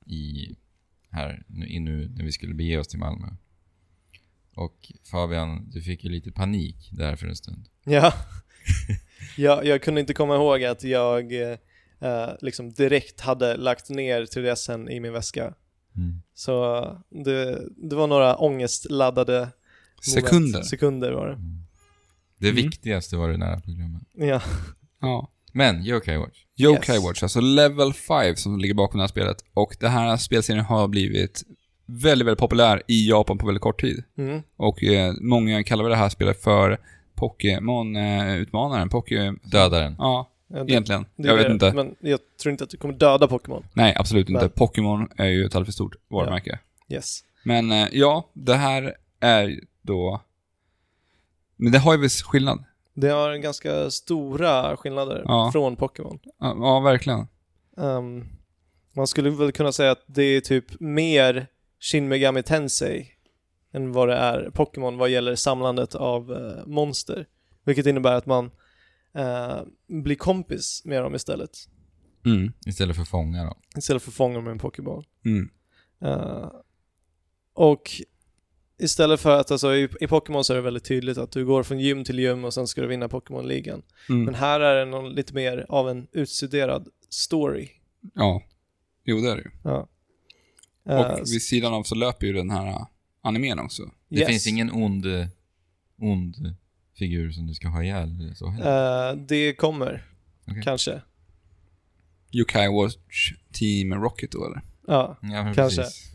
i... Här nu, i nu när vi skulle bege oss till Malmö. Och Fabian, du fick ju lite panik där för en stund.
Ja. jag, jag kunde inte komma ihåg att jag eh, liksom direkt hade lagt ner 3DSen i min väska.
Mm.
Så eh, det, det var några ångestladdade moment.
Sekunder.
Sekunder var det.
Det
Mm.
viktigaste var det nära programmet.
Ja,
Ja.
Men, Yokai Watch.
Yokai
Yes.
Watch, alltså Level 5 som ligger bakom det här spelet. Och det här spelserien har blivit väldigt, väldigt populär i Japan på väldigt kort tid.
mm.
Och eh, många kallar väl det här spelet för Pokémon-utmanaren. Poké...
Döda den.
Ja,
Ja, det-
egentligen.
det
jag
är
vet
det.
inte.
Men jag tror inte att du kommer döda Pokémon.
Nej, absolut inte.
Men-
Pokémon är ju ett alldeles för stort varumärke.
Yes.
Men eh, ja, det här är då... Men det har ju viss skillnad.
Det har ganska stora skillnader
Ja.
från Pokémon.
Ja, ja, verkligen.
Ehm, man skulle väl kunna säga att det är typ mer Shin Megami Tensei än vad det är Pokémon vad gäller samlandet av eh, monster. Vilket innebär att man eh, blir kompis med dem istället.
Mm.
Istället för fånga då.
Istället för att fånga dem med en Pokéboll.
Mm.
Eh, och istället för att, alltså i, i Pokémon så är det väldigt tydligt att du går från gym till gym och sen ska du vinna Pokémon-ligan.
Mm.
Men här är det någon, lite mer av en utstuderad story.
Ja. Jo, det är det ju.
Ja. Eh,
Och vid sidan av så löper ju den här eh, animen också.
Det
Yes.
finns ingen ond, eh, ond figur som du ska ha ihjäl eller så heller.
Eh, det kommer,
Okej.
kanske.
Yokai Watch Team Rocket då, eller?
Ja.
ja, men
kanske.
precis.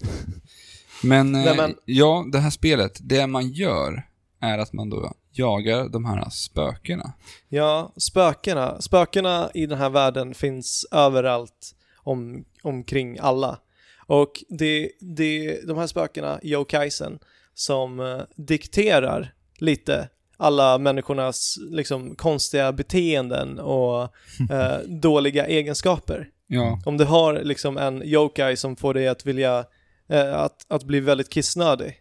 Men, eh,
Nej, men-
ja, det här spelet, det man gör är att man då jagar de här spökena.
ja, spökena. Spökena i den här världen finns överallt om, omkring alla. Och det det de här spökena, yokaisen, som eh, dikterar lite alla människornas liksom, konstiga beteenden och eh, dåliga egenskaper.
Ja.
Om du har liksom en yokai som får dig att vilja eh, att, att bli väldigt kissnödig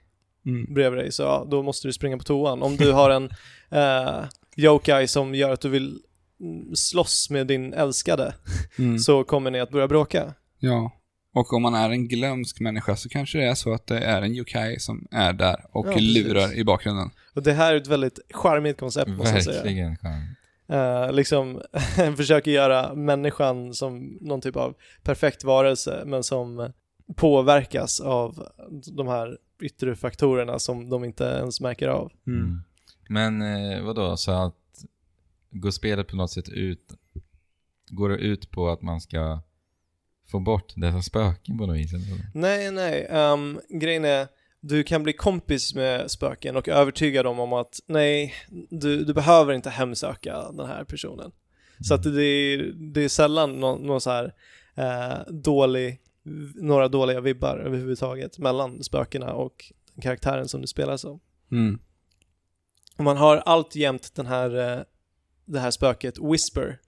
Mm.
bredvid dig, så ja, då måste du springa på toan. Om du har en eh, yokai som gör att du vill mm, slåss med din älskade,
Mm.
så kommer ni att börja bråka.
Ja. Och om man är en glömsk människa så kanske det är så att det är en yokai som är där och
Ja, precis.
lurar i bakgrunden.
Och det här är ett väldigt charmigt koncept, måste jag säga.
Verkligen charmigt.
Eh, liksom försöker göra människan som någon typ av perfekt varelse, men som påverkas av de här yttre faktorerna som de inte ens märker av.
Mm. Men eh, vadå, så att går spelet på något sätt ut, går det ut på att man ska få bort dessa spöken på något vis? eller vadå?
Nej, nej. ehm, grejen är, du kan bli kompis med spöken och övertyga dem om att nej, du, du behöver inte hemsöka den här personen. Så att det är, det är sällan någon, någon så här eh, dålig, några dåliga vibbar överhuvudtaget mellan spökena och den karaktären som du spelar som.
Mm.
Och man har alltjämt den här, eh, det här spöket Whisper,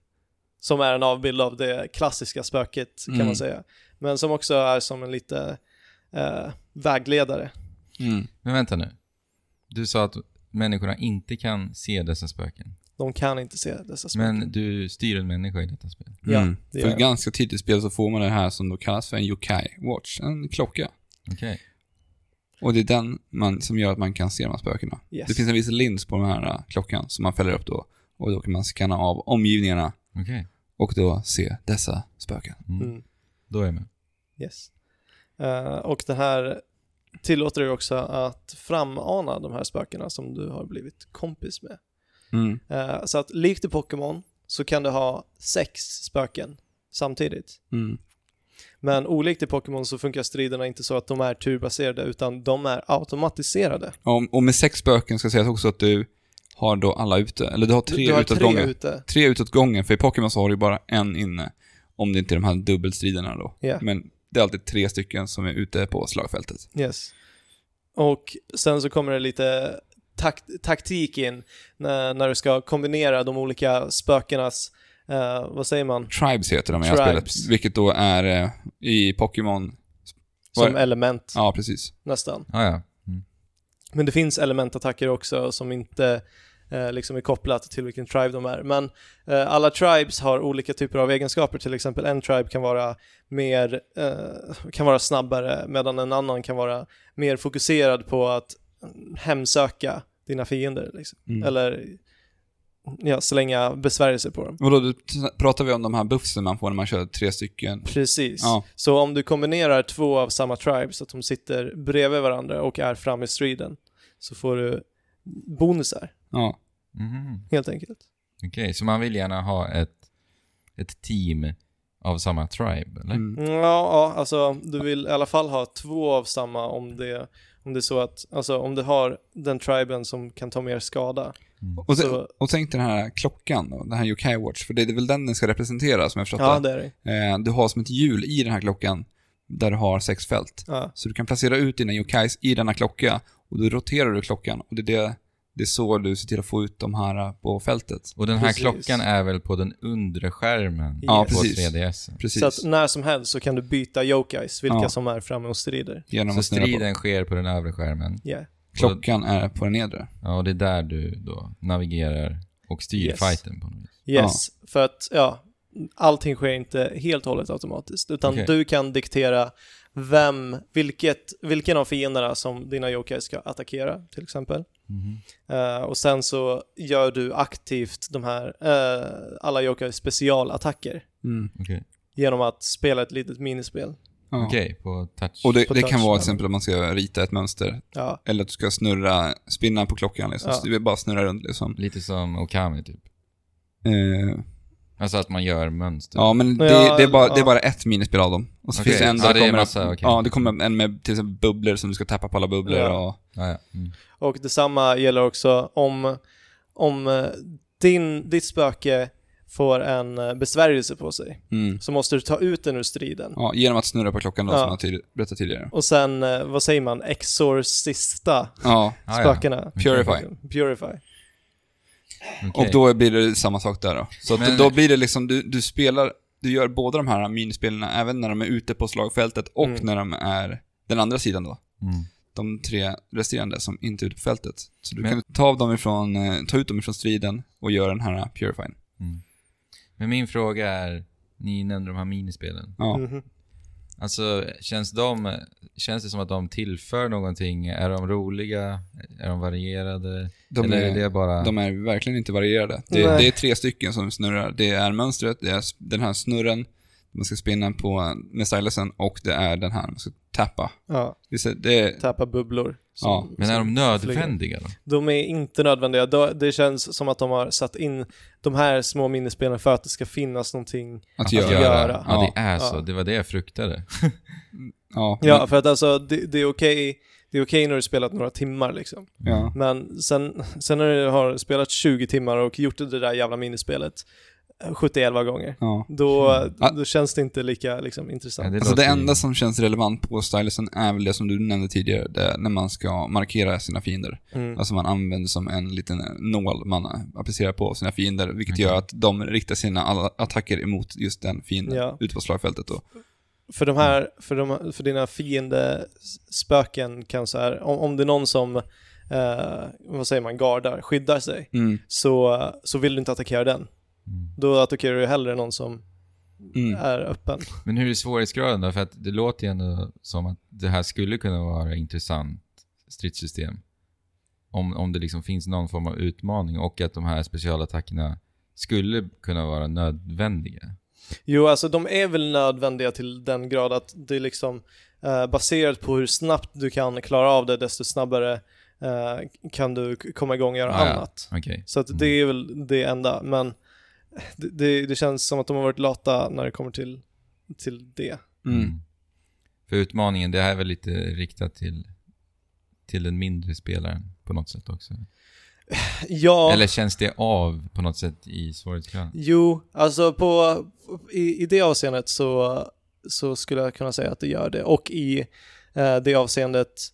som är en avbild av det klassiska spöket kan
Mm.
man säga. Men som också är som en lite eh, vägledare.
Mm.
Men vänta nu. Du sa att människorna inte kan se dessa spöken.
De kan inte se dessa spöken.
Men du styr en människa i detta spel.
Ja,
Mm.
det
För
gör jag.
ganska tidigt i spelet så får man det här som då kallas för en yokai watch, en klocka.
Okej.
Och det är den man, som gör att man kan se de här spökena.
Yes.
Det finns en viss lins på den här eh, klockan som man fäller upp då. Och då kan man scanna av omgivningarna
Okej.
och då se dessa spöken.
Mm.
Mm.
Då är jag med.
Yes. Eh, och den här tillåter dig också att framana de här spökena som du har blivit kompis med.
Mm.
Eh, så att likt i Pokémon så kan du ha sex spöken samtidigt.
Mm.
Men olikt i Pokémon så funkar striderna inte så att de är turbaserade utan de är automatiserade.
Och, och med sex spöken ska sägas också att du har då alla ute. Eller du har
Du-
tre
du har
utåt
tre
gången.
ute.
tre utåt gången, för i Pokémon så har du ju bara en inne. Om det inte är de här dubbelstriderna då.
Ja.
Men det är alltid tre stycken som är ute på slagfältet.
Yes. Och sen så kommer det lite tak taktik in när, när du ska kombinera de olika spökenas, eh, vad säger man,
Tribes heter de i det här
Tribes.
spelet, vilket då är eh, i Pokémon... Vad
som
är-
element
Ja, precis.
nästan.
Ah, ja. mm.
Men det finns elementattacker också som inte eh, liksom är kopplat till vilken tribe de är. Men eh, alla tribes har olika typer av egenskaper, till exempel en tribe kan vara mer, eh, kan vara snabbare medan en annan kan vara mer fokuserad på att hemsöka dina fiender liksom.
Mm.
eller ja, slänga besvärjelser på dem.
Och då du- pratar vi om de här buffsen man får när man kör tre stycken.
Precis.
Ja.
Så om du kombinerar två av samma tribes, att de sitter bredvid varandra och är framme i striden, så får du bonusar
Ja.
Mhm.
helt enkelt.
Okej, så man vill gärna ha ett, ett team av samma tribe, eller?
Mm.
Ja, ja, alltså du vill i alla fall ha två av samma om det, om det är så att, alltså om du har den triben som kan ta mer skada.
Och, se,
Så-
och tänk den här klockan då, den här Yokai Watch, för det är väl den den ska representera som jag förstått
Ja,
det.
det är det.
Eh, Du har som ett hjul i den här klockan där du har sex fält.
Ja.
Så du kan placera ut dina yokais i denna klocka och då roterar du klockan och det är, det, det är så du ser till att få ut de här eh, på fältet.
Och den här
Precis.
klockan är väl på den undre skärmen
Ja,
på
precis.
3DS?
Precis.
Så att när som helst så kan du byta yokais, vilka
Ja.
som är framme och strider.
genom
Så
att snurra på.
striden sker på den övre skärmen.
Yeah.
Klockan är på den nedre.
Ja, och det är där du då navigerar och styr
Yes.
fighten på något vis.
Yes, för att ja, allting sker inte helt och hållet automatiskt, utan
Okej.
du kan diktera vem, vilket, vilken av fienderna som dina yokais ska attackera till exempel.
Mhm.
Eh, och sen så gör du aktivt de här, eh, alla yokais specialattacker
Mm.
Okej,
genom att spela ett litet minispel.
Ja.
Okej, på touch.
Och det,
På
det kan vara
touchskärmen.
till exempel att man ska rita ett mönster
Ja,
eller att du ska snurra, spinna på klockan liksom.
Ja.
Så det är bara att snurra runt liksom.
Lite som Okami typ.
Eh,
Alltså att man gör mönster.
Ja, men det,
Ja,
det, är bara,
ja.
det är bara ett minispel av dem. Och så
Okej,
finns det en
ja,
där
det
det
är
kommer,
massa, okej.
ja, det kommer en med till exempel bubblor som du ska tappa på alla bubblor
Ja.
och...
Ja, ja. Mm.
och detsamma gäller också om, om eh, din, ditt spöke får en eh, besvärjelse på sig
Mm.
så måste du ta ut den ur striden.
Ja, genom att snurra på klockan då,
Ja.
som jag tid- berättade tidigare.
Och sen, eh, vad säger man, exorcista
Ja,
Ah, ja.
spökena.
Purify.
Purify.
Okej.
Och då blir det samma sak där då. Så att
Men-
då blir det liksom, du, du spelar, du gör båda de här minispelen även när de är ute på slagfältet och
Mm.
när de är den andra sidan då.
Mm.
De tre resterande som inte är ute på fältet. Så du
Men-
kan ta, av dem ifrån, eh, ta ut dem ifrån striden och göra den här purifying.
Men min fråga är, ni nämnde de här minispelen.
Ja.
Mhm.
Alltså, känns, de, känns det som att de tillför någonting? Är de roliga? Är de varierade?
De
Eller
är-
är det bara...
De är verkligen inte varierade. Det,
Nej.
det är tre stycken som snurrar. Det är mönstret, det är s- den här snurren man ska spinna på med stylusen och det är den här man ska tappa.
Ja,
Det är, så- det är,
tappa bubblor. som-
Ja,
men är de
som flyger.
nödvändiga då?
De är inte nödvändiga. De- Det känns som att de har satt in de här små minispelen för att det ska finnas någonting.
att
Att
göra.
göra.
Ja, det är
Ja.
så. Det var det jag fruktade.
Ja,
Ja,
men-
för att alltså det, det är okej. Det är okej när du spelat några timmar liksom.
ja.
Men sen, sen när du har spelat 20 timmar och gjort det där jävla minispelet eh, 71 gånger,
ja.
då,
Ah.
då känns det inte lika liksom, intressant.
Ja, det
Alltså det
låter ju-
enda som känns relevant på stylusen är väl det som du nämnde tidigare, det är när man ska markera sina fiender.
Mm.
Alltså man använder som en liten nål man applicerar på sina fiender, vilket gör att de riktar sina alla attacker emot just den fienden
Ja.
ute på slagfältet då.
För de här, för, de, för dina fiendespöken kan så här, om, om det är någon som, eh, vad säger man, gardar, skyddar sig,
Mm.
så, så vill du inte attackera den.
Mm.
Då attackerar du hellre någon som
Mm.
är öppen.
Men hur är svårighetsgraden då? För att det låter ju ändå som att det här skulle kunna vara intressant stridssystem. Om, om det liksom finns någon form av utmaning och att de här specialattackerna skulle kunna vara nödvändiga.
Jo, alltså de är väl nödvändiga till den grad att det liksom, eh, baserat på hur snabbt du kan klara av det, desto snabbare eh, kan du k- komma igång och göra
Ah, ja. Mm.
annat.
Okej.
Så att det är väl det enda, men det, det, det känns som att de har varit lata när det kommer till, till det.
Mm.
För utmaningen, det här är väl lite riktat till, till den mindre spelaren på något sätt också?
Ja,
Eller känns det av på något sätt i svårighetsgraden?
jo, alltså på, i, i det avseendet så, så skulle jag kunna säga att det gör det. Och i eh, det avseendet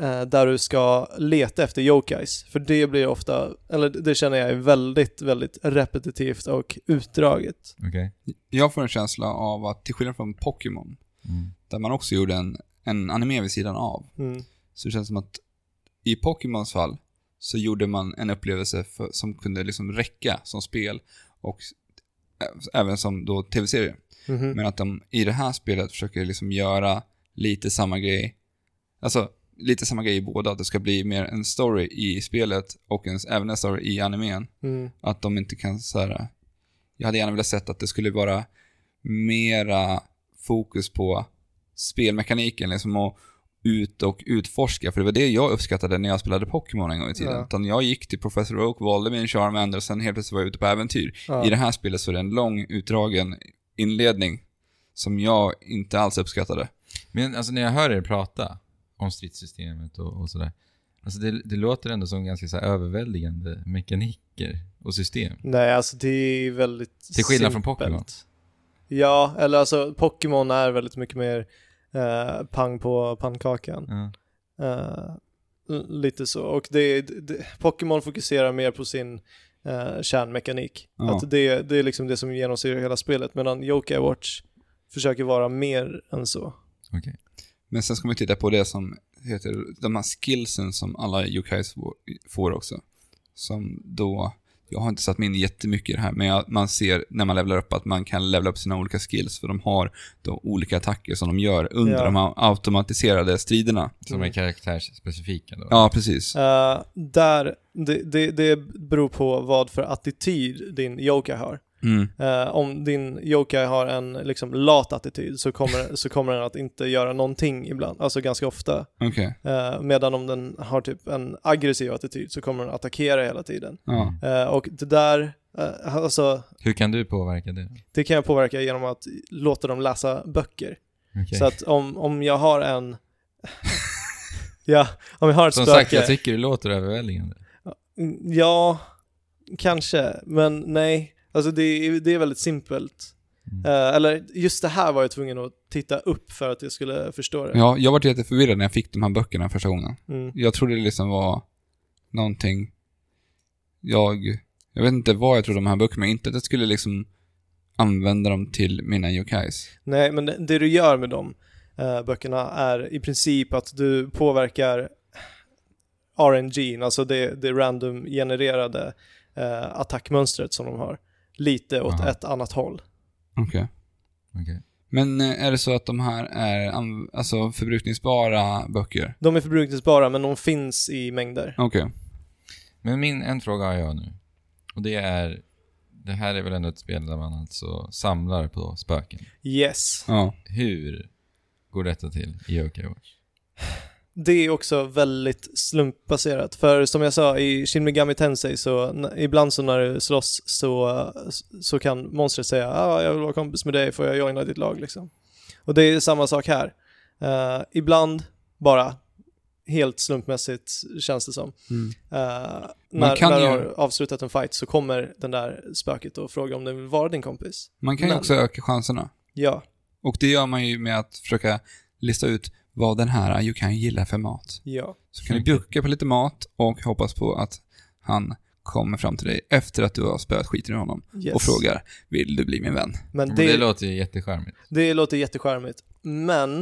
eh, där du ska leta efter yokais. För det blir ofta, eller det känner jag är väldigt, väldigt repetitivt och utdraget.
Okej?
Jag får en känsla av att, till skillnad från Pokémon,
Mm.
där man också gjorde en, en anime vid sidan av,
Mm.
så det känns som att i Pokémons fall så gjorde man en upplevelse för, som kunde liksom räcka som spel och s- ä- även som då tv-serie.
Mhm.
Men att de i det här spelet försöker liksom göra lite samma grej. Alltså, lite samma grej i båda. Att det ska bli mer en story i spelet och en, även en story i animen.
Mm.
Att de inte kan så här. Jag hade gärna velat sett att det skulle vara mera fokus på spelmekaniken, liksom och ut och utforska. För det var det jag uppskattade när jag spelade Pokémon en gång i tiden.
Ja.
Utan jag gick till Professor Oak, valde min Charmander och sen helt plötsligt var jag ute på äventyr.
Ja.
I det här spelet så är det en lång utdragen inledning som jag inte alls uppskattade.
Men alltså när jag hör er prata om stridssystemet och, och sådär. Alltså det, det låter ändå som ganska så här överväldigande mekaniker och system.
Nej, alltså det är väldigt
Till skillnad från
simpelt.
Pokémon.
Ja, eller alltså Pokémon är väldigt mycket mer eh, pang på pannkakan.
Ja.
Eh, l- lite så. Och det, det, Pokémon fokuserar mer på sin eh, kärnmekanik.
Ja.
Att det, det är liksom det som genomsyrar hela spelet. Medan Yokai Watch försöker vara mer än så.
Okej.
Men sen ska man ju titta på det som heter, de här skillsen som alla yokais får också. Som då, jag har inte satt mig in jättemycket i det här, men jag, man ser när man levlar upp att man kan levla upp sina olika skills, för de har då olika attacker som de gör under
Ja.
de här automatiserade striderna.
Som är karaktärsspecifika då.
Ja, precis.
Eh, där, det, det, det beror på vad för attityd din Yokai har.
Mm.
Eh, om din yokai har en liksom, lat attityd så kommer, så kommer den att inte göra någonting ibland, alltså ganska ofta.
Okej.
Eh, medan om den har typ en aggressiv attityd så kommer den attackera hela tiden.
Ja.
Eh, och det där, eh, alltså,
Hur kan du påverka det?
det kan jag påverka genom att låta dem läsa böcker.
Okej.
Så att om, om jag har en... ja, om jag har ett
Som
spöke...
sagt, jag tycker det låter överväldigande.
Mm, Ja, kanske, men nej. Alltså det, är- det är väldigt simpelt.
Mm.
Eh, eller just det här var jag tvungen att titta upp för att jag skulle förstå det.
ja, jag var jätteförvirrad när jag fick de här böckerna första gången.
Mm.
Jag trodde det liksom var någonting. Jag, jag vet inte vad jag trodde om de här böckerna, men inte att jag skulle liksom använda dem till mina yokais.
Nej, men det, det du gör med de eh, böckerna är i princip att du påverkar RNG, alltså det, det random-genererade eh, attackmönstret som de har, lite åt
Aha.
ett annat håll.
Okej.
Okej.
Men eh, är det så att de här är anv- alltså förbrukningsbara böcker?
De är förbrukningsbara, men de finns i mängder.
Okej.
Men min, en fråga har jag nu. Och det är... Det här är väl ändå ett spel där man alltså samlar på spöken.
Yes.
Ja.
Hur går detta till i Yokai Watch?
Det är också väldigt slumpbaserat, för som jag sa i Shin Megami Tensei så n- ibland så när du slåss så, så kan monstret säga ah, jag vill vara kompis med dig, får jag joina ditt lag liksom. Och det är samma sak här. Eh, ibland bara helt slumpmässigt känns det som. Eh, när
Mm. kan
när
ju-
du har avslutat en fight så kommer den där spöket och frågar om den vill vara din kompis.
Man kan ju
Men-
också öka chanserna.
Ja,
Och det gör man ju med att försöka lista ut vad den här you can gillar för mat.
ja.
Så kan du bjucka på lite mat och hoppas på att han kommer fram till dig efter att du har spöat skiten ur honom
Yes.
och frågar Vill du bli min vän?
Men
Det,
det,
det låter ju jättecharmigt.
Det låter jättecharmigt, men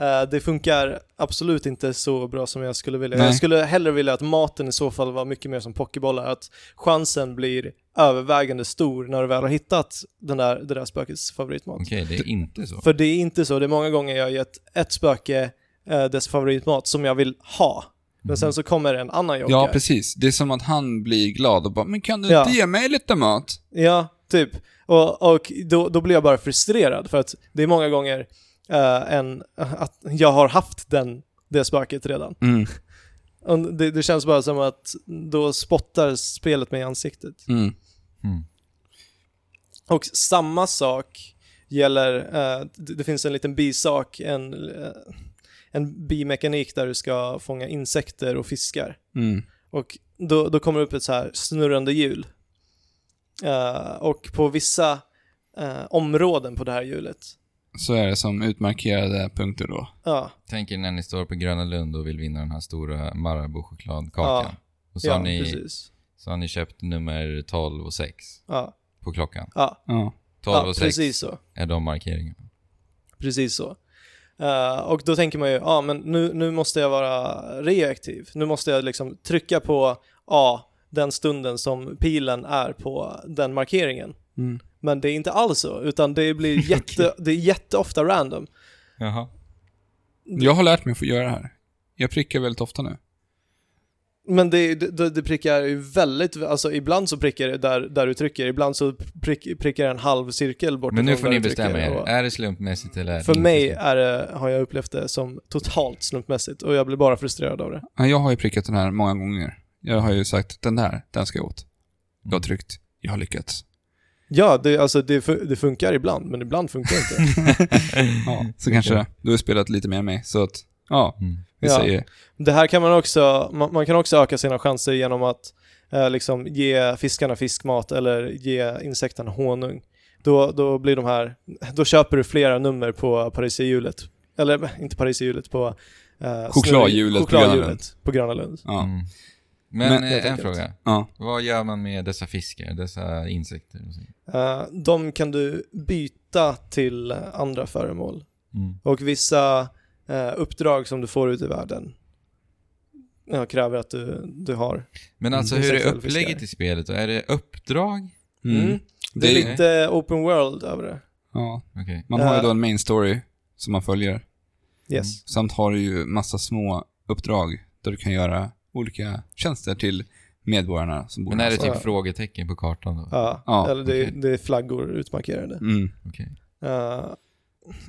eh, det funkar absolut inte så bra som jag skulle vilja.
Nej.
Jag skulle hellre vilja att maten i så fall var mycket mer som pokébollar, att chansen blir övervägande stor när du väl har hittat den där, det där spökets favoritmat.
Okej, det är inte så.
För det är inte så, det är många gånger jag har gett ett spöke eh, dess favoritmat som jag vill ha, men sen så kommer en annan yokai.
Mm. Ja, precis. Det är som att han blir glad och bara Men kan du
Ja.
inte ge mig lite mat?
Ja, typ. Och, och då, då blir jag bara frustrerad för att det är många gånger eh, än att jag har haft den, det spöket redan.
Mm,
Och Det, det känns bara som att då spottar spelet mig i ansiktet.
mm,
Och samma sak gäller, eh, det det finns en liten bisak, en, eh, en bimekanik där du ska fånga insekter och fiskar.
mm.
Och då, då kommer det upp ett så här snurrande hjul. Eh, och på vissa eh, områden på det här hjulet,
Så är det som utmarkerade punkter då.
ja,
Tänk er när ni står på Gröna Lund och vill vinna den här stora Marabou-chokladkakan. och så,
ja
har ni,
precis.
så har ni köpt nummer 12 och 6
Ja,
på klockan.
ja,
12
12
ja
och 6
precis så.
är de markeringarna.
Precis så. Eh, och då tänker man ju, ja ah, men nu, nu måste jag vara reaktiv. Nu måste jag liksom trycka på A den stunden som pilen är på den markeringen.
Mm.
Men det är inte alls så, utan det blir jätte, det är jätteofta random.
Jaha.
Mm.
Jag har lärt mig att få göra det här. Jag prickar väldigt ofta nu.
Men det, det, det prickar ju väldigt, alltså ibland så prickar det där, där du trycker, ibland så prick, prickar det en halv cirkel bort
Men nu
ifrån
får
där
ni
du trycker
bestämma er.
och-
Är det slumpmässigt eller är det
För
inte
mig
slumpmässigt?
är det, har jag upplevt det som totalt slumpmässigt och jag blir bara frustrerad av det.
Ja, Jag har ju prickat den här många gånger. Jag har ju sagt den där, den ska jag åt. Jag har tryckt, jag har lyckats.
Ja, det, alltså det, fu- det funkar ibland, men ibland funkar det inte.
Ja, så kanske du har spelat lite mer än mig, så att ja,
Mm.
vi
Ja.
säger
det här kan man också, man, man kan också öka sina chanser genom att eh, liksom ge fiskarna fiskmat eller ge insekterna honung. Då, då blir de här, då köper du flera nummer på pariserhjulet. Eller inte pariserhjulet, på eh,
Chokladhjulet på
snurr- chokladhjulet
Gröna Lund.
på Gröna Lund.
ja.
Mm. Men,
Men-
eh,
Helt
en
enkelt.
fråga.
Ja.
Vad gör man med dessa fiskar, dessa insekter? Och så?
Eh, de kan du byta till andra föremål.
Mm.
Och vissa eh, uppdrag som du får ute i världen ja, kräver att du, du har
Men
Mm.
alltså hur är
Insekter eller fiskar?
upplägget i spelet? då? Är det uppdrag?
Mm.
Mm.
Det,
Det är
är,
lite open world över det.
ja.
Okej.
Man har ju
Eh.
då en main story som man följer.
Yes.
Samt har du ju massa små uppdrag där du kan göra olika tjänster till medborgarna som bor
Men är det
någonstans.
typ
alltså, Ja.
frågetecken på kartan då?
Ja,
Ja,
eller det,
okej.
det är flaggor utmarkerade.
Mm.
Okej.
Eh,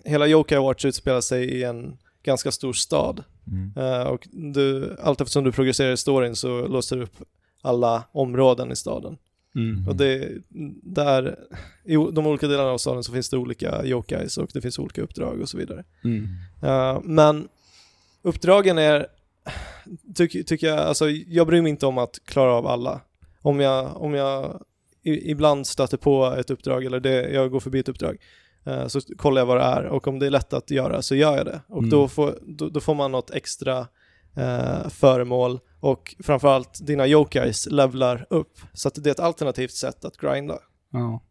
hela Yokai Watch utspelar sig i en ganska stor stad.
Mm.
Eh, och du, allt eftersom du progresserar i storyn så låser du upp alla områden i staden.
Mm.
Och det, där, i o- de olika delarna av staden så finns det olika yokais och det finns olika uppdrag och så vidare.
Mm.
Eh, men uppdragen är, tycker tycker jag, alltså jag bryr mig inte om att klara av alla. Om jag, om jag i, ibland stöter på ett uppdrag eller det, jag går förbi ett uppdrag eh, så kollar jag vad det är och om det är lätt att göra så gör jag det. Och
Mm.
då, får, då, då får man något extra eh, föremål och framförallt dina yokais levlar upp. Så att det är ett alternativt sätt att grinda.
Ja.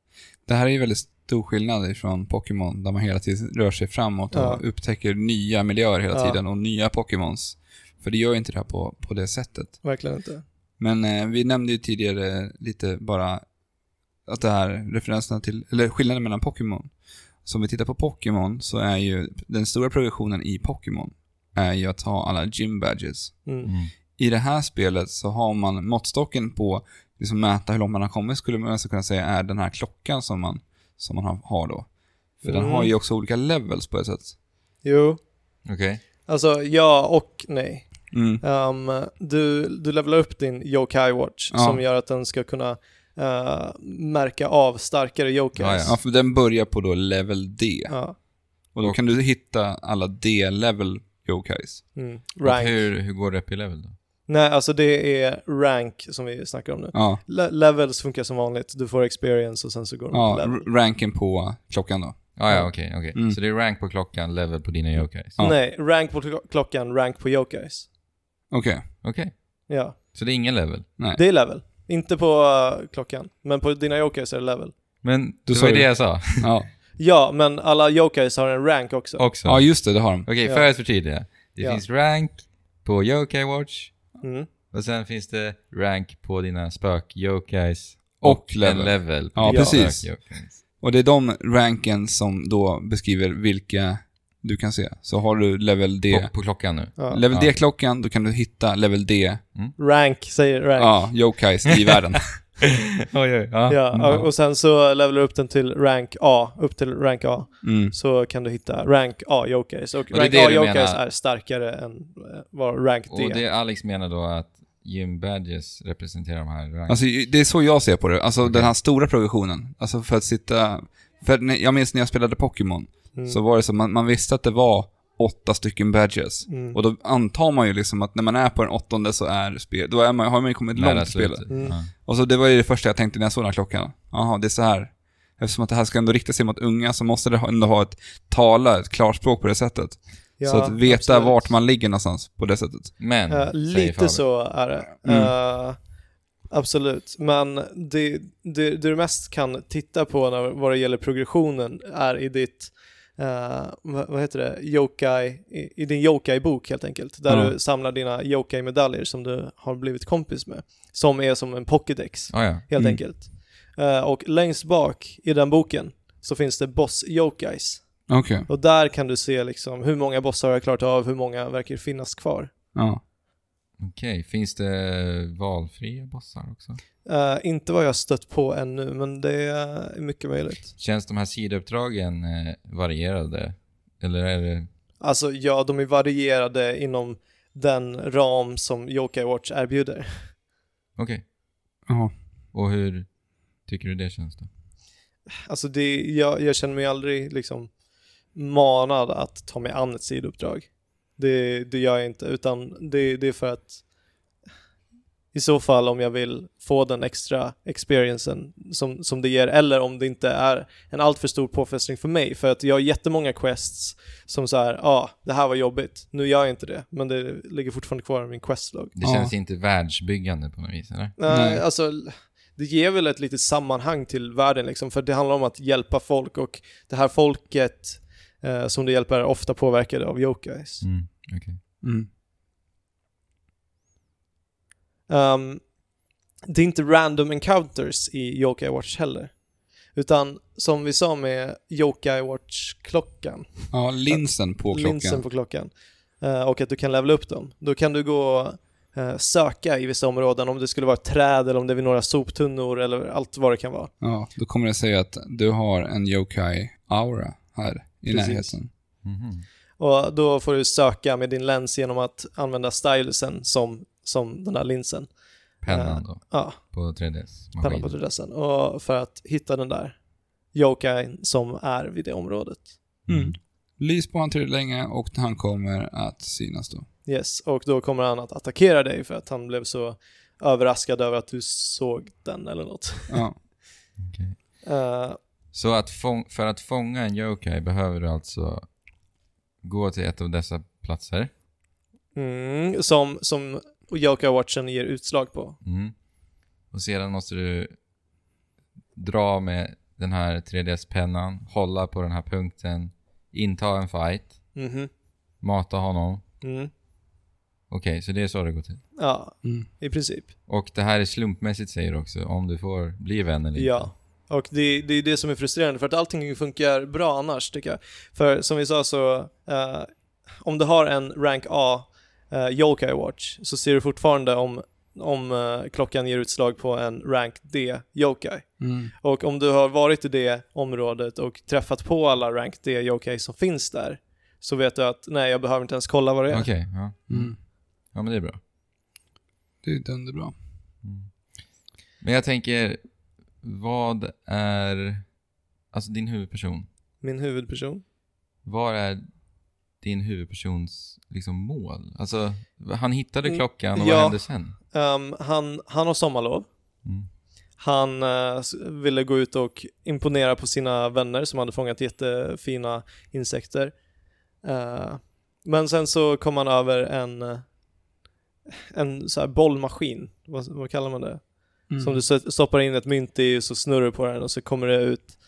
Det här är ju väldigt stor skillnad ifrån Pokémon där man hela tiden rör sig framåt och
Ja.
upptäcker nya miljöer hela
Ja.
tiden och nya Pokémons. För det gör ju inte det här på, på det sättet.
Verkligen inte.
Men eh, vi nämnde ju tidigare lite bara att det här referenserna till, eller skillnaden mellan Pokémon. Så om vi tittar på Pokémon så är ju den stora progressionen i Pokémon är ju att ha alla gym badges.
Mm.
Mm.
I det här spelet så har man måttstocken på, liksom mäta hur långt man har kommit skulle man nästan kunna säga är den här klockan som man, som man har- har då. För den
Mm.
har ju också olika levels på ett sätt.
Jo,
Okej.
alltså ja och nej.
Mm.
Ehm, du, du levelar upp din Yokai Watch
Ja.
som gör att den ska kunna eh, märka av starkare Yokais.
Ja,
Ja, för den börjar på då level D.
Ja,
Och då kan du hitta alla D-level yokais.
Mm.
Och
Rank.
Hur, hur går det upp i level då?
Nej, alltså det är rank som vi snackar om nu.
Ja.
Le- levels funkar som vanligt, du får experience och sen så går de
Ja,
på level.
r- ranken på klockan då.
Ah, ja, okej. okej.
Mm.
Så det är rank på klockan, level på dina yokais?
Ja.
Nej, rank på klo- klockan, rank på Yokais.
Okej.
Okej.
Ja,
Så det är ingen level?
Nej.
det är level. Inte på eh, klockan, men på dina Yokais är det level.
Men
Du
det
sa
var ju
ju-
det jag sa
Ja.
Ja, men alla Yokais har en rank också.
också.
ja, just det, det har de.
Okej,
Ja.
för att förtydliga. Det
Ja.
finns rank på yokai watch
Mm.
och sen finns det rank på dina spök-yokais
Och level.
en level på
Ja,
dina
precis.
spök-yokais.
Och det är de ranken som då beskriver vilka du kan se. Så har du level D.
På, på klockan nu.
Ja.
Level
Ja.
D-klockan, då kan du hitta level D,
Rank, säger rank.
ja, yokais i världen.
Oj, oj, ja.
Ja,
Mm.
ja.
och- och sen så levelar du upp den till rank A, upp till rank A.
Mm.
Så kan du hitta rank A-jokers och,
Och det är
rank
det du
A-jokers
menar.
är starkare än eh, vad rank D.
Och det Alex menar då att Jim Badges representerar de här rank-
Alltså, det är så jag ser på det. Alltså den här stora progressionen. Alltså för att sitta... För när, jag minns när jag spelade Pokémon.
Mm.
Så var det så, man, man visste att det var åtta stycken badges.
Mm.
Och då antar man ju liksom att när man är på den åttonde så är spel, då är man, har man ju kommit
nära
långt i spelet.
slutet. Ja.
Och så det var ju det första jag tänkte när jag såg den här klockan. Jaha, det är så här. Eftersom att det här ska ändå rikta sig mot unga så måste det ha- ändå ha ett tala, ett klarspråk på det sättet.
Ja,
så att veta
absolut.
vart man ligger någonstans på det sättet.
Men,
Mm,
Eh,
säger
lite
Fabian.
så är det. Eh, absolut, men det, det, det du mest kan titta på när, vad det gäller progressionen är i ditt eh, vad, vad heter det? Yokai, i, i din yokai-bok helt enkelt, där
Ja.
du samlar dina yokai-medaljer som du har blivit kompis med, som är som en pokédex
Ah, ja.
helt
Mm.
enkelt. Eh, och längst bak i den boken så finns det boss-yokais.
Okej.
Och där kan du se liksom hur många bossar har jag klarat av, hur många verkar finnas kvar.
Ja.
Okej, finns det valfria bossar också?
Eh, inte vad jag stött på ännu, men det är mycket möjligt.
Känns de här sidouppdragen eh, varierade? Eller är det...
Alltså ja, de är varierade inom den ram som Yokai Watch erbjuder.
Okej.
Ja.
Och hur tycker du det känns då?
Alltså det, jag, jag känner mig aldrig liksom manad att ta mig an ett sidouppdrag. Det, det gör jag inte, utan det, det är för att i så fall om jag vill få den extra experiencen som, som det ger, eller om det inte är en alltför stor påfrestning för mig, för att jag har jättemånga quests som så här, ja, ah, det här var jobbigt, nu gör jag inte det, men det ligger fortfarande kvar i min questlog.
Det
Ja.
känns inte världsbyggande på något vis, eller?
Nej,
Nej.
alltså det ger väl ett litet sammanhang till världen liksom, för det handlar om att hjälpa folk och det här folket eh, som du hjälper är ofta påverkade av yokais.
Mm, okej.
Mm.
Ehm, det är inte random encounters i Yokai Watch heller, utan som vi sa med Yokai Watch-klockan,
ja, linsen på klockan.
linsen på klockan, eh, och att du kan levela upp dem, då kan du gå eh, söka i vissa områden, om det skulle vara ett träd eller om det är vid några soptunnor eller allt vad det kan vara.
Ja, då kommer det säga att du har en yokai aura här i
Precis.
närheten.
Mhm.
Och då får du söka med din lens genom att använda stylusen som, som den här linsen.
Pennan då,
Ja,
på 3DS.
pennan på
maskinen.
adressen. Och för att hitta den där yokai som är vid det området.
Mm. Lys på honom tillräckligt länge och han kommer att synas då.
Yes, och då kommer han att attackera dig för att han blev så överraskad över att du såg den eller något.
Ja.
Okej.
Eh,
Så att fång- för att fånga en yokai behöver du alltså gå till ett av dessa platser.
mm, som, som yokai-watchen ger utslag på.
Mm. Och sedan måste du dra med den här 3DS-pennan, hålla på den här punkten, inta en fight,
Mhm,
mata honom.
mm.
Okej, så det är så det går till.
Ja,
Mm.
i princip.
Och det här är slumpmässigt säger du också, om du får bli vän eller inte.
Ja, och det, det är det som är frustrerande för att allting funkar bra annars tycker jag. För som vi sa så, eh, om du har en rank A eh, Yokai Watch så ser du fortfarande om, om eh, klockan ger utslag på en rank D Yokai.
Mm.
Och om du har varit i det området och träffat på alla rank D Yokai som finns där så vet du att nej, jag behöver inte ens kolla vad det är.
Okej, ja.
Mm.
ja men det är bra.
Det är dunderbra.
Men jag tänker, vad är, alltså din huvudperson,
Min huvudperson.
vad är din huvudpersons liksom mål? Alltså, han hittade
Mm,
klockan och
ja.
vad hände sen?
Ehm, han, han har sommarlov.
Mm.
Han eh, s- ville gå ut och imponera på sina vänner som hade fångat jättefina insekter. Eh, men sen så kom han över en, eh, en så här bollmaskin, vad, vad kallar man det?
Mm.
Som du s- stoppar in ett mynt i och så snurrar du på den och så kommer det ut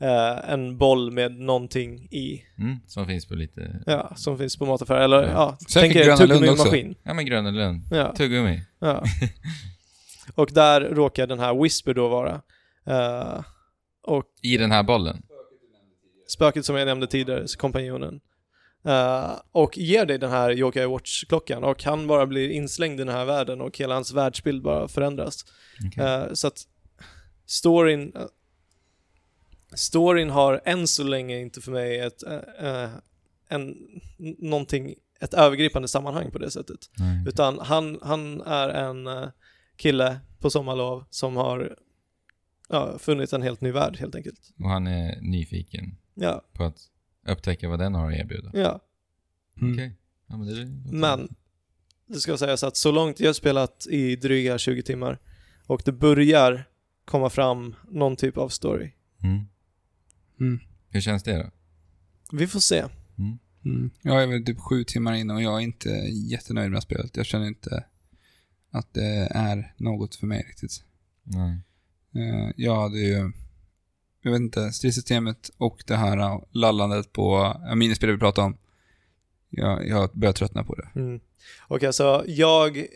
eh, en boll med någonting i.
Mm, som finns på lite...
Ja, som finns på mataffärer. Eller
Ja.
ja,
Säkert
tänk er
Gröna
en
Lund
tuggummi-maskin.
Ja, men Gröna Lund.
Ja.
Tuggummi.
Ja. Och där råkar den här Whisper då vara. Eh, och
I den här bollen.
spöket som jag nämnde tidigare, kompanjonen. Eh, och ger dig den här Yokai Watch-klockan och han bara blir inslängd i den här världen och hela hans världsbild bara förändras.
Okej.
Eh, så att storyn, eh, storyn har än så länge inte för mig ett, eh, eh, en, n- någonting, ett övergripande sammanhang på det sättet.
Nej.
Utan han, han är en eh, kille på sommarlov som har ja, funnit en helt ny värld helt enkelt.
Och han är nyfiken
Ja,
på att upptäcka vad den har att erbjuda.
ja.
Mm.
Okej. Ja, men det är
Men det ska sägas att så långt jag har spelat i dryga 20 timmar och det börjar komma fram någon typ av story.
Mm.
Mm.
Hur känns det då?
Vi får se.
Mm. Jag är väl typ sju timmar in och jag är inte jättenöjd med spelet. Jag känner inte att det är något för mig riktigt.
Nej.
Eh, Jag hade ju, jag vet inte, stridssystemet och det här eh, lallandet på ja, minispelet vi pratade om. Jag, jag börjar tröttna på det.
Mm. Okej, så jag...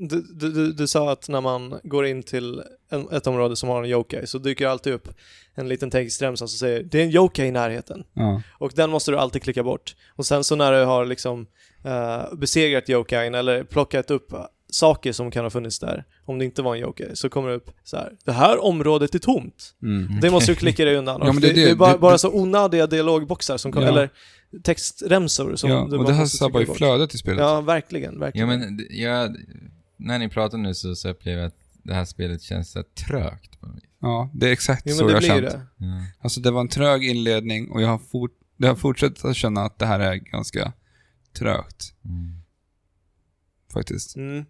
Du, du, du, du sa att när man går in till en, ett område som har en yokai så dyker det alltid upp en liten textremsa som säger det är en yokai i närheten.
Ja.
Och den måste du alltid klicka bort. Och sen så när du har liksom eh, besegrat yokain eller plockat upp saker som kan ha funnits där, om det inte var en yokai, så kommer det upp så här. Det här området är tomt.
Mm.
Det måste du klicka dig undan.
Ja, men
Och
det
det,
är
det,
det.
är bara,
Det-
bara
det-
så onödiga dialogboxar som kommer,
Ja.
eller textremsor som
ja,
du
och
bara
det här
måste trycka
sabbar ju
bort.
flödet i spelet.
Ja, verkligen,
Ja,
verkligen.
men d- jag, när ni pratar nu så, så upplever jag att det här spelet känns så här trögt. På mig.
Ja, det är exakt
Jo,
så
men det
jag
blir
känt.
det.
Ja.
Alltså det var en trög inledning och jag har, fort, jag har fortsatt att känna att det här är ganska trögt
Mm.
faktiskt.
Mm.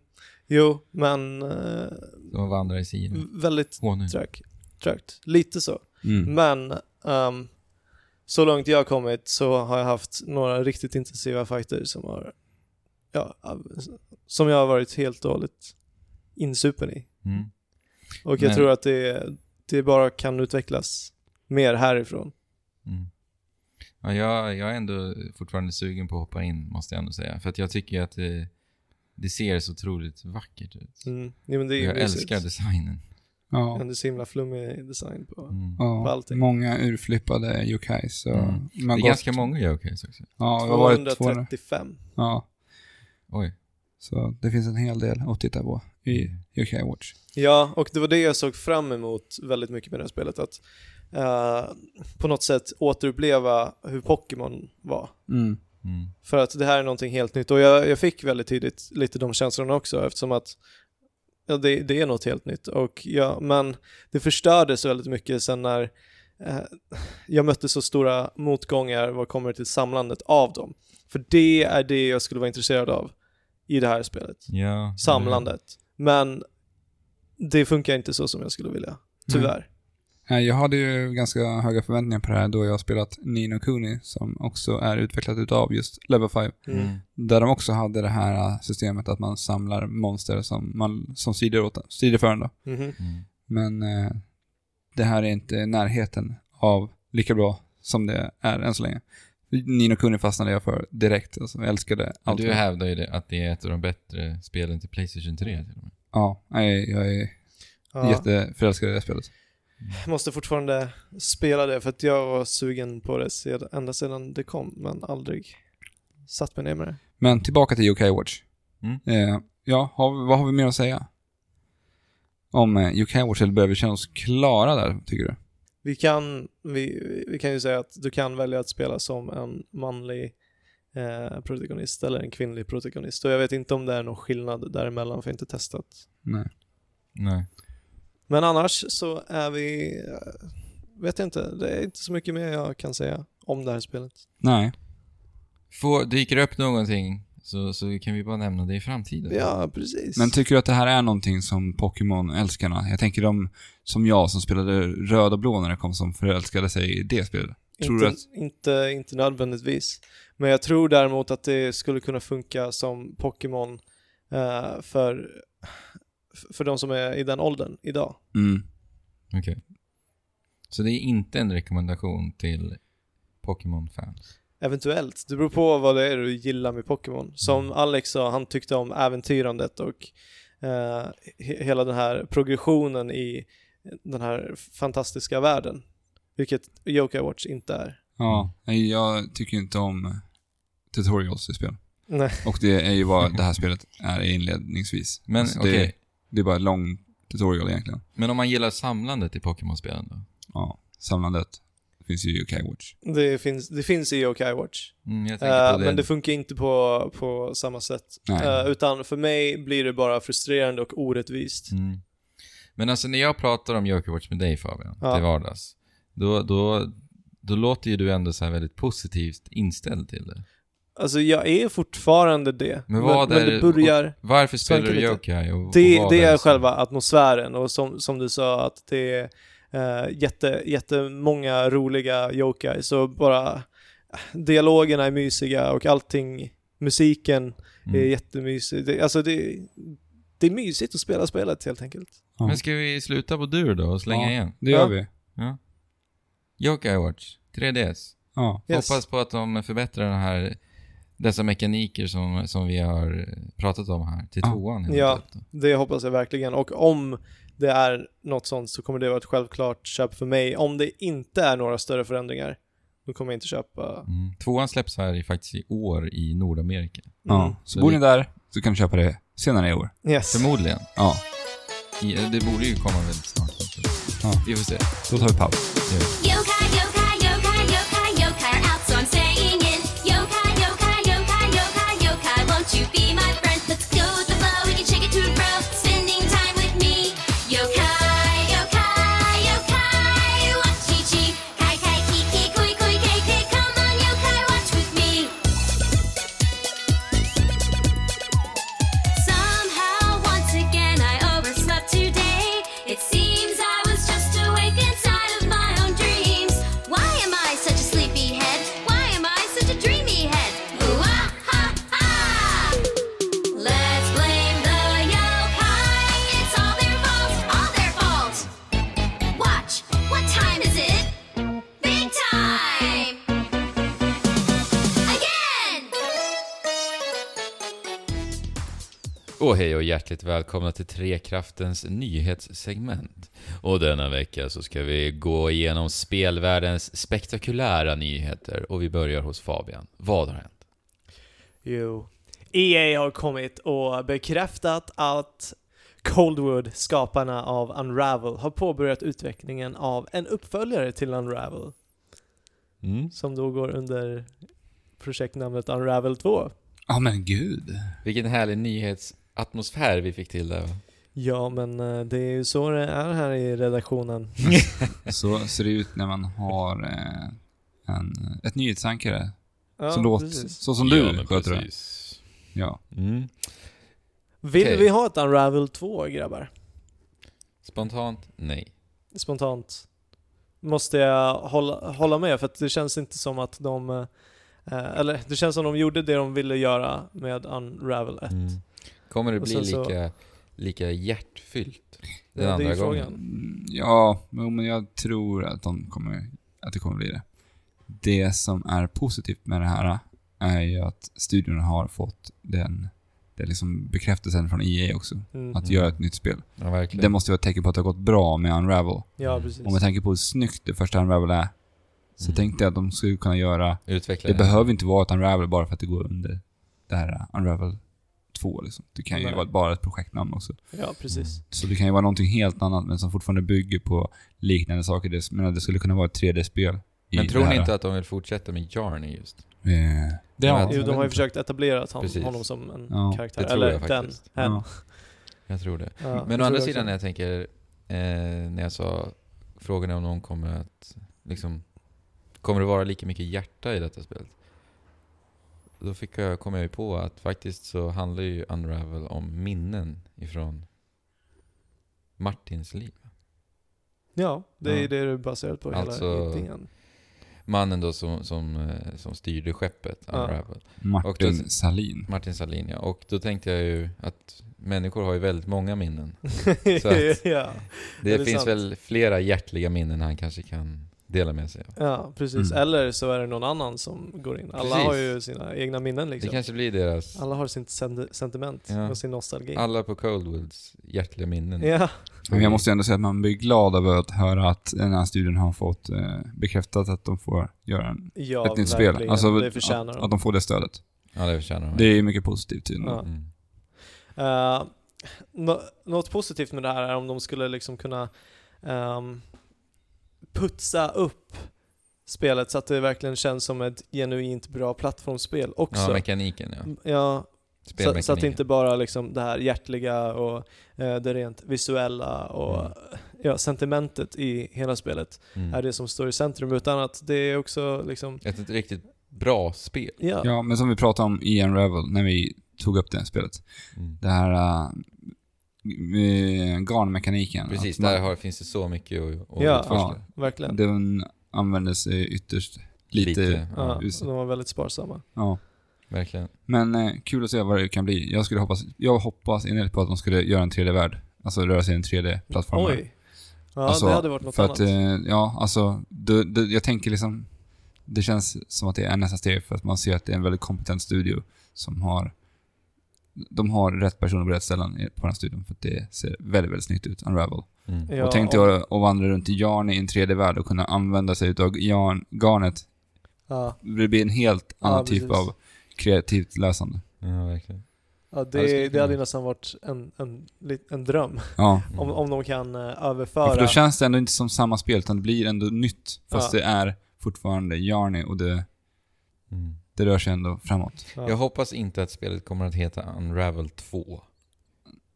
Jo, men eh,
De vandrar i
Mm.
sidan.
väldigt
Åh, nu.
trögt. trögt. Lite så.
Mm.
Men ehm, så långt jag har kommit så har jag haft några riktigt intensiva fighter som har ja, som jag har varit helt och hållet insupen i.
Mm.
Och jag
Men-
tror att det, det bara kan utvecklas mer härifrån.
Mm. Ja, jag, jag är ändå fortfarande sugen på att hoppa in, måste jag ändå säga. För att jag tycker att det, det ser så otroligt vackert ut.
Mm. Ja, men det är ju
Jag
mysigt.
älskar designen.
Ja.
Men det är så himla flummig design på.
Mm.
på
Ja,
allting.
många urflippade yokais. Så
Mm.
man
Det
gått-
är ganska många yokais också.
Ja, vi har varit 200.
235.
Ja,
Oj.
så det finns en hel del att titta på i
Mm.
yokai Watch.
Ja, och det var det jag såg fram emot väldigt mycket med det här spelet. Att eh, på något sätt återuppleva hur Pokémon var.
Mm.
Mm.
För att det här är någonting helt nytt och jag, jag fick väldigt tidigt lite de känslorna också eftersom att ja, det, det är något helt nytt. Och ja, men det förstördes väldigt mycket sen när eh, jag mötte så stora motgångar vad kommer till samlandet av dem. För det är det jag skulle vara intresserad av i det här spelet.
Ja,
Samlandet. Men det funkar inte så som jag skulle vilja. Tyvärr.
Nej, Eh, Jag hade ju ganska höga förväntningar på det här då jag har spelat Nino Kuni som också är utvecklat utav just Level 5.
Mm.
Mm.
Mm.
Där de också hade det här äh, systemet att man samlar monster som, man, som strider, åt, strider för en. Då.
Mhm.
Mm.
Men eh, det här är inte i närheten av lika bra som det är än så länge. Nino Kuni fastnade jag för direkt. Alltså, jag älskade
Men
allt.
Du hävdar ju det, att det är ett av de bättre spelen till Playstation 3 till och med.
Ja, nej, jag är
Ja.
jätteförälskad i det spelet.
Jag måste fortfarande spela det för att jag var sugen på det sed- ända sedan det kom men aldrig satt mig ner med det.
Men tillbaka till UK Watch.
Mm.
Eh, ja, har, vi- vad har vi mer att säga? Om eh, UK Watch, eller behöver vi känna oss klara där, tycker du?
Vi kan, vi, vi kan ju säga att du kan välja att spela som en manlig eh, protagonist eller en kvinnlig protagonist och jag vet inte om det är någon skillnad däremellan för jag har inte testat.
Nej.
Nej.
Men annars så är vi, eh, vet jag inte, det är inte så mycket mer jag kan säga om det här spelet.
Nej.
Får, dyker det upp någonting så, så kan vi bara nämna det i framtiden.
Ja, precis.
Men tycker du att det här är någonting som Pokémon-älskarna, jag tänker de som jag som spelade röd och blå när det kom, som förälskade sig i det spelet? Tror
inte,
du att...
inte, inte nödvändigtvis. Men jag tror däremot att det skulle kunna funka som Pokémon eh, för, för de som är i den åldern idag.
Mm.
Okej. Så det är inte en rekommendation till Pokémon-fans?
Eventuellt. Det beror på vad det är du gillar med Pokémon. Som Alex sa, han tyckte om äventyrandet och eh, he- hela den här progressionen i den här fantastiska världen. Vilket Yokai Watch inte är.
Ja, nej, jag tycker inte om eh, tutorials i spel.
Nej.
Och det är ju vad det här spelet är inledningsvis.
Men
Alltså, det,
okej,
det är bara lång tutorial egentligen.
Men om man gillar samlandet i Pokémon-spelen då?
Ja, samlandet. Det finns ju UK Watch.
Det finns, det finns i OK Watch.
Mm, jag tänker
Eh,
på det.
men det funkar inte på, på samma sätt.
Nej.
Eh, utan för mig blir det bara frustrerande och orättvist.
Mm. Men alltså när jag pratar om Jokerwatch med dig Fabian,
Ja.
till vardags, då, då, då låter ju du ändå så här väldigt positivt inställd till det.
Alltså jag är fortfarande det.
Men vad
men,
är
det börjar...
Varför spelar
Svanka
du
lite.
Joker? Och, och
Det,
vad
det är
som-
själva atmosfären och som, som du sa att det är eh, jätte, jättemånga roliga yokai så bara eh, dialogerna är mysiga och allting, musiken är
Mm.
jättemysig. Det, alltså det, det är mysigt att spela spelet helt enkelt.
Men ska vi sluta på dur då och slänga
ja,
igen?
det gör
Ja.
vi.
Joker Watch, 3DS.
Ja.
Yes.
Hoppas på att de förbättrar den här, dessa mekaniker som, som vi har pratat om här till
Ja.
tvåan. helt
Ja.
enkelt.
Det hoppas jag verkligen och om det är något sånt så kommer det vara ett självklart köp för mig. Om det inte är några större förändringar då kommer jag inte köpa.
Mm. Tvåan släpps här i, faktiskt i år i Nordamerika.
Mm.
ja. Så bor ni där så kan ni köpa det senare i år.
Yes.
Förmodligen.
Ja,
I, det borde ju komma väldigt snart.
Ja.
Vi får se.
då tar vi paus.
Yokai, yokai, yokai, yokai, yokai are out, so I'm saying it. Yokai, yokai, yokai, yokai, yokai, won't you be my friend? Let's go with the flow, we can shake it to and fro, spending time with me. Yokai, yokai, yokai, wachi chi, kai kai kiki, kui kui kei kei, come on yokai, watch with me. Somehow, once again, I overslept today. It seems I was just awake inside of my own dreams. Why am I such a sleepy head? Why am I such a dreamy head? Ooh ah ha ha! Let's blame the yokai. It's all their fault. All their fault. Watch. What time is it? Big time. Again.
Och hej och hjärtligt välkomna till Trekraftens nyhetssegment. Och denna vecka så ska vi gå igenom spelvärldens spektakulära nyheter och vi börjar hos Fabian. Vad har hänt?
Jo. EA har kommit och bekräftat att Coldwood, skaparna av Unravel, har påbörjat utvecklingen av en uppföljare till Unravel,
Mm.
som då går under projektnamnet Unravel 2.
Ja men gud.
Vilken härlig nyhetsatmosfär vi fick till där. va?
Ja, men eh, det är ju så det är här i redaktionen.
Så ser det ut när man har eh, en, ett nyhetsankare.
Ja,
som låter,
precis.
så som
Ja,
du
men
sköter det.
precis.
Ja.
Mm.
Vill
okej.
vi ha ett Unravel 2, grabbar?
Spontant, nej.
Spontant. Måste jag hålla, hålla med, för att det känns inte som att de... eh, Eller det känns som de gjorde det de ville göra med Unravel
Mm.
Eh, 1.
Mm.
Kommer det
Och
bli
sen så-
lika, lika hjärtfyllt den
Ja, det är
andra
ju
gången?
frågan.
Mm, Ja, jo, men jag tror att, de kommer, att det kommer bli det. Det som är positivt med det här är ju att studion har fått den, den liksom bekräftelsen från EA också.
Mm.
Att göra ett nytt spel.
Ja, verkligen.
Det måste ju vara ett tecken på att det har gått bra med Unravel.
Ja, precis. Mm.
Och med tanke på hur snyggt det första Unravel är, så tänkte jag att de skulle kunna göra...
Utveckla
Det behöver inte vara ett Unravel bara för att det går under det här Unravel 2 liksom. Det kan ju
Nej.
vara bara ett projektnamn också.
Ja, precis.
Mm.
Så det kan ju vara någonting helt annat men som fortfarande bygger på liknande saker. Det, men det skulle kunna vara ett 3D-spel. i
Men tror
det
ni
här.
inte att de vill fortsätta med Jarny just?
Eh, det
Ja,
har
Jo, de har ju
jag
försökt etablera att han,
Mm. Precis.
honom som en
Ja,
karaktär.
det tror
Eller
jag
den.
faktiskt.
Hen.
Ja.
Jag tror det.
Ja, det
Men
tror
å andra
jag
sidan när
också.
jag tänker, eh, när jag sa frågan är om någon kommer att, liksom, kommer det vara lika mycket hjärta i detta spelet? Då fick jag, kom jag ju på att faktiskt så handlar ju Unravel om minnen ifrån Martins liv.
Ja, det är
Ja.
det är baserat på hela
Alltså-
idén.
Mannen då som, som, eh, som styrde skeppet
Ja.
Unravel. Och
Martin
då-
Salin.
Martin Salin ja. Och då tänkte jag ju att människor har ju väldigt många minnen. Så att-
ja.
Det,
Ja, det är
finns
sant.
väl flera hjärtliga minnen han kanske kan dela med sig av.
ja, precis.
Mm.
Eller så är det någon annan som går in. Alla
Precis.
har ju sina egna minnen
Det
liksom.
kanske blir deras...
Alla har sitt sen- sentiment
Ja.
och sin nostalgi.
Alla på Coldwoods hjärtliga minnen.
Ja,
Men jag måste ju ändå säga att man blir glad över att höra att den här studien har fått eh, bekräftat att de får göra en,
ja
ett nytt
verkligen.
spel. Alltså,
det förtjänar
att,
de.
att de får det stödet.
Ja, det förtjänar de.
Mm.
Det är ju mycket positivt tydligen.
Ja.
Mm.
Eh, Nå- något positivt med det här är om de skulle liksom kunna ehm, putsa upp spelet så att det verkligen känns som ett genuint bra plattformsspel
Ja,
också.
mekaniken ja.
ja, Mm. så,
Spelmekaniken.
så att det inte bara liksom det här hjärtliga och eh, det rent visuella och
Mm.
ja, sentimentet i hela spelet
Mm.
är det som står i centrum utan att det är också liksom,
Ett, ett riktigt bra spel.
ja,
Ja, men som vi pratade om i Unravel när vi tog upp det spelet.
Mm.
Det här uh, garnmekaniken.
Precis,
Att man-
där har, finns det så mycket att, att
Ja.
utforska.
verkligen.
Den användes eh, ytterst lite.
ja,
Ja,
och de var väldigt sparsamma.
Ja.
verkligen.
Men eh, kul att se vad det kan bli. Jag, skulle hoppas, jag hoppas innerligt på att de skulle göra en 3D-värld. Alltså röra sig i en 3D-plattform.
Oj! Ja,
Alltså,
det hade varit något
För
annat.
att, eh, ja, alltså, du, du, jag tänker liksom, det känns som att det är nästa steg för att man ser att det är en väldigt kompetent studio som har, de har rätt personer på rätt ställen i- på den här studion för att det ser väldigt, väldigt snyggt ut, Unravel.
Mm.
ja,
och tänk dig att, att vandra runt i järn i en 3D-värld och kunna använda sig av järn, garnet.
ja,
Det blir en helt annan typ
precis.
av kreativt läsande.
Ja, verkligen.
ja,
Ja, det
det,
skulle
det hade ju nästan varit en, en, lit- en dröm.
Ja.
Mm.
Om, om de kan eh,
Ja, för
överföra.
då känns det ändå inte som samma spel, utan det blir ändå nytt. Fast
Ja.
det är fortfarande Yarny och det,
Mm.
det rör sig ändå framåt.
Ja.
Jag hoppas inte att spelet kommer att heta Unravel 2.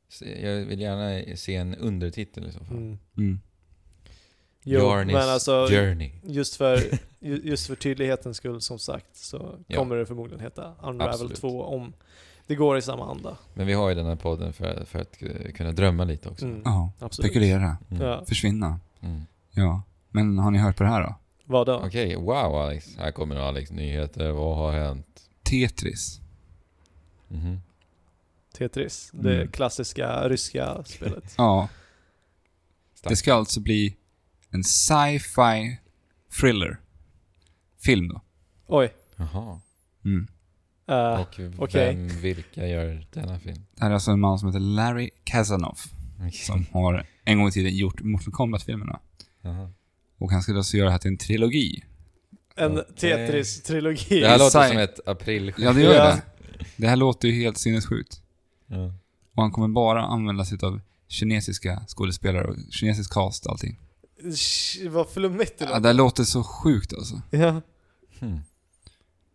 Se- Jag vill gärna se en undertitel i så fall.
mm.
Mm.
Jo,
Yarnis
men alltså
Journey.
just för, ju- just för tydlighetens skull som sagt så
Ja.
kommer det förmodligen heta Unravel
Absolut.
2 om det går i samma anda.
Men vi har ju den här podden för, för att eh, kunna drömma lite också.
Mm,
Ja,
absolut.
spekulera,
Mm.
Ja.
försvinna.
Mm.
Ja. Men har ni hört på det här då?
Vad då?
Okej, wow Alex. Här kommer Alex nyheter. Vad har hänt?
Tetris.
Mhm.
Tetris, det
Mm.
klassiska ryska spelet.
Ja.
Starkt.
Det ska alltså bli en sci-fi thriller. Film då.
Oj.
Jaha.
Mm.
eh,
Och
okej.
vem, vilka gör denna film?
Det här är alltså en man som heter Larry Kazanov som har en gång i tiden gjort Mortal Kombat-filmerna.
Jaha.
Och han skulle alltså göra det här till en trilogi.
en
Okej.
Tetris-trilogi.
Det här låter
sci-
som ett aprilskämt.
Ja, det gör
Ja.
det. Det här låter ju helt sinnessjukt.
Ja.
Och han kommer bara använda sig av kinesiska skådespelare och kinesisk cast och allting.
Sh- Vad flummigt det
Ja,
låter.
det här låter så sjukt alltså.
Ja.
Hmm.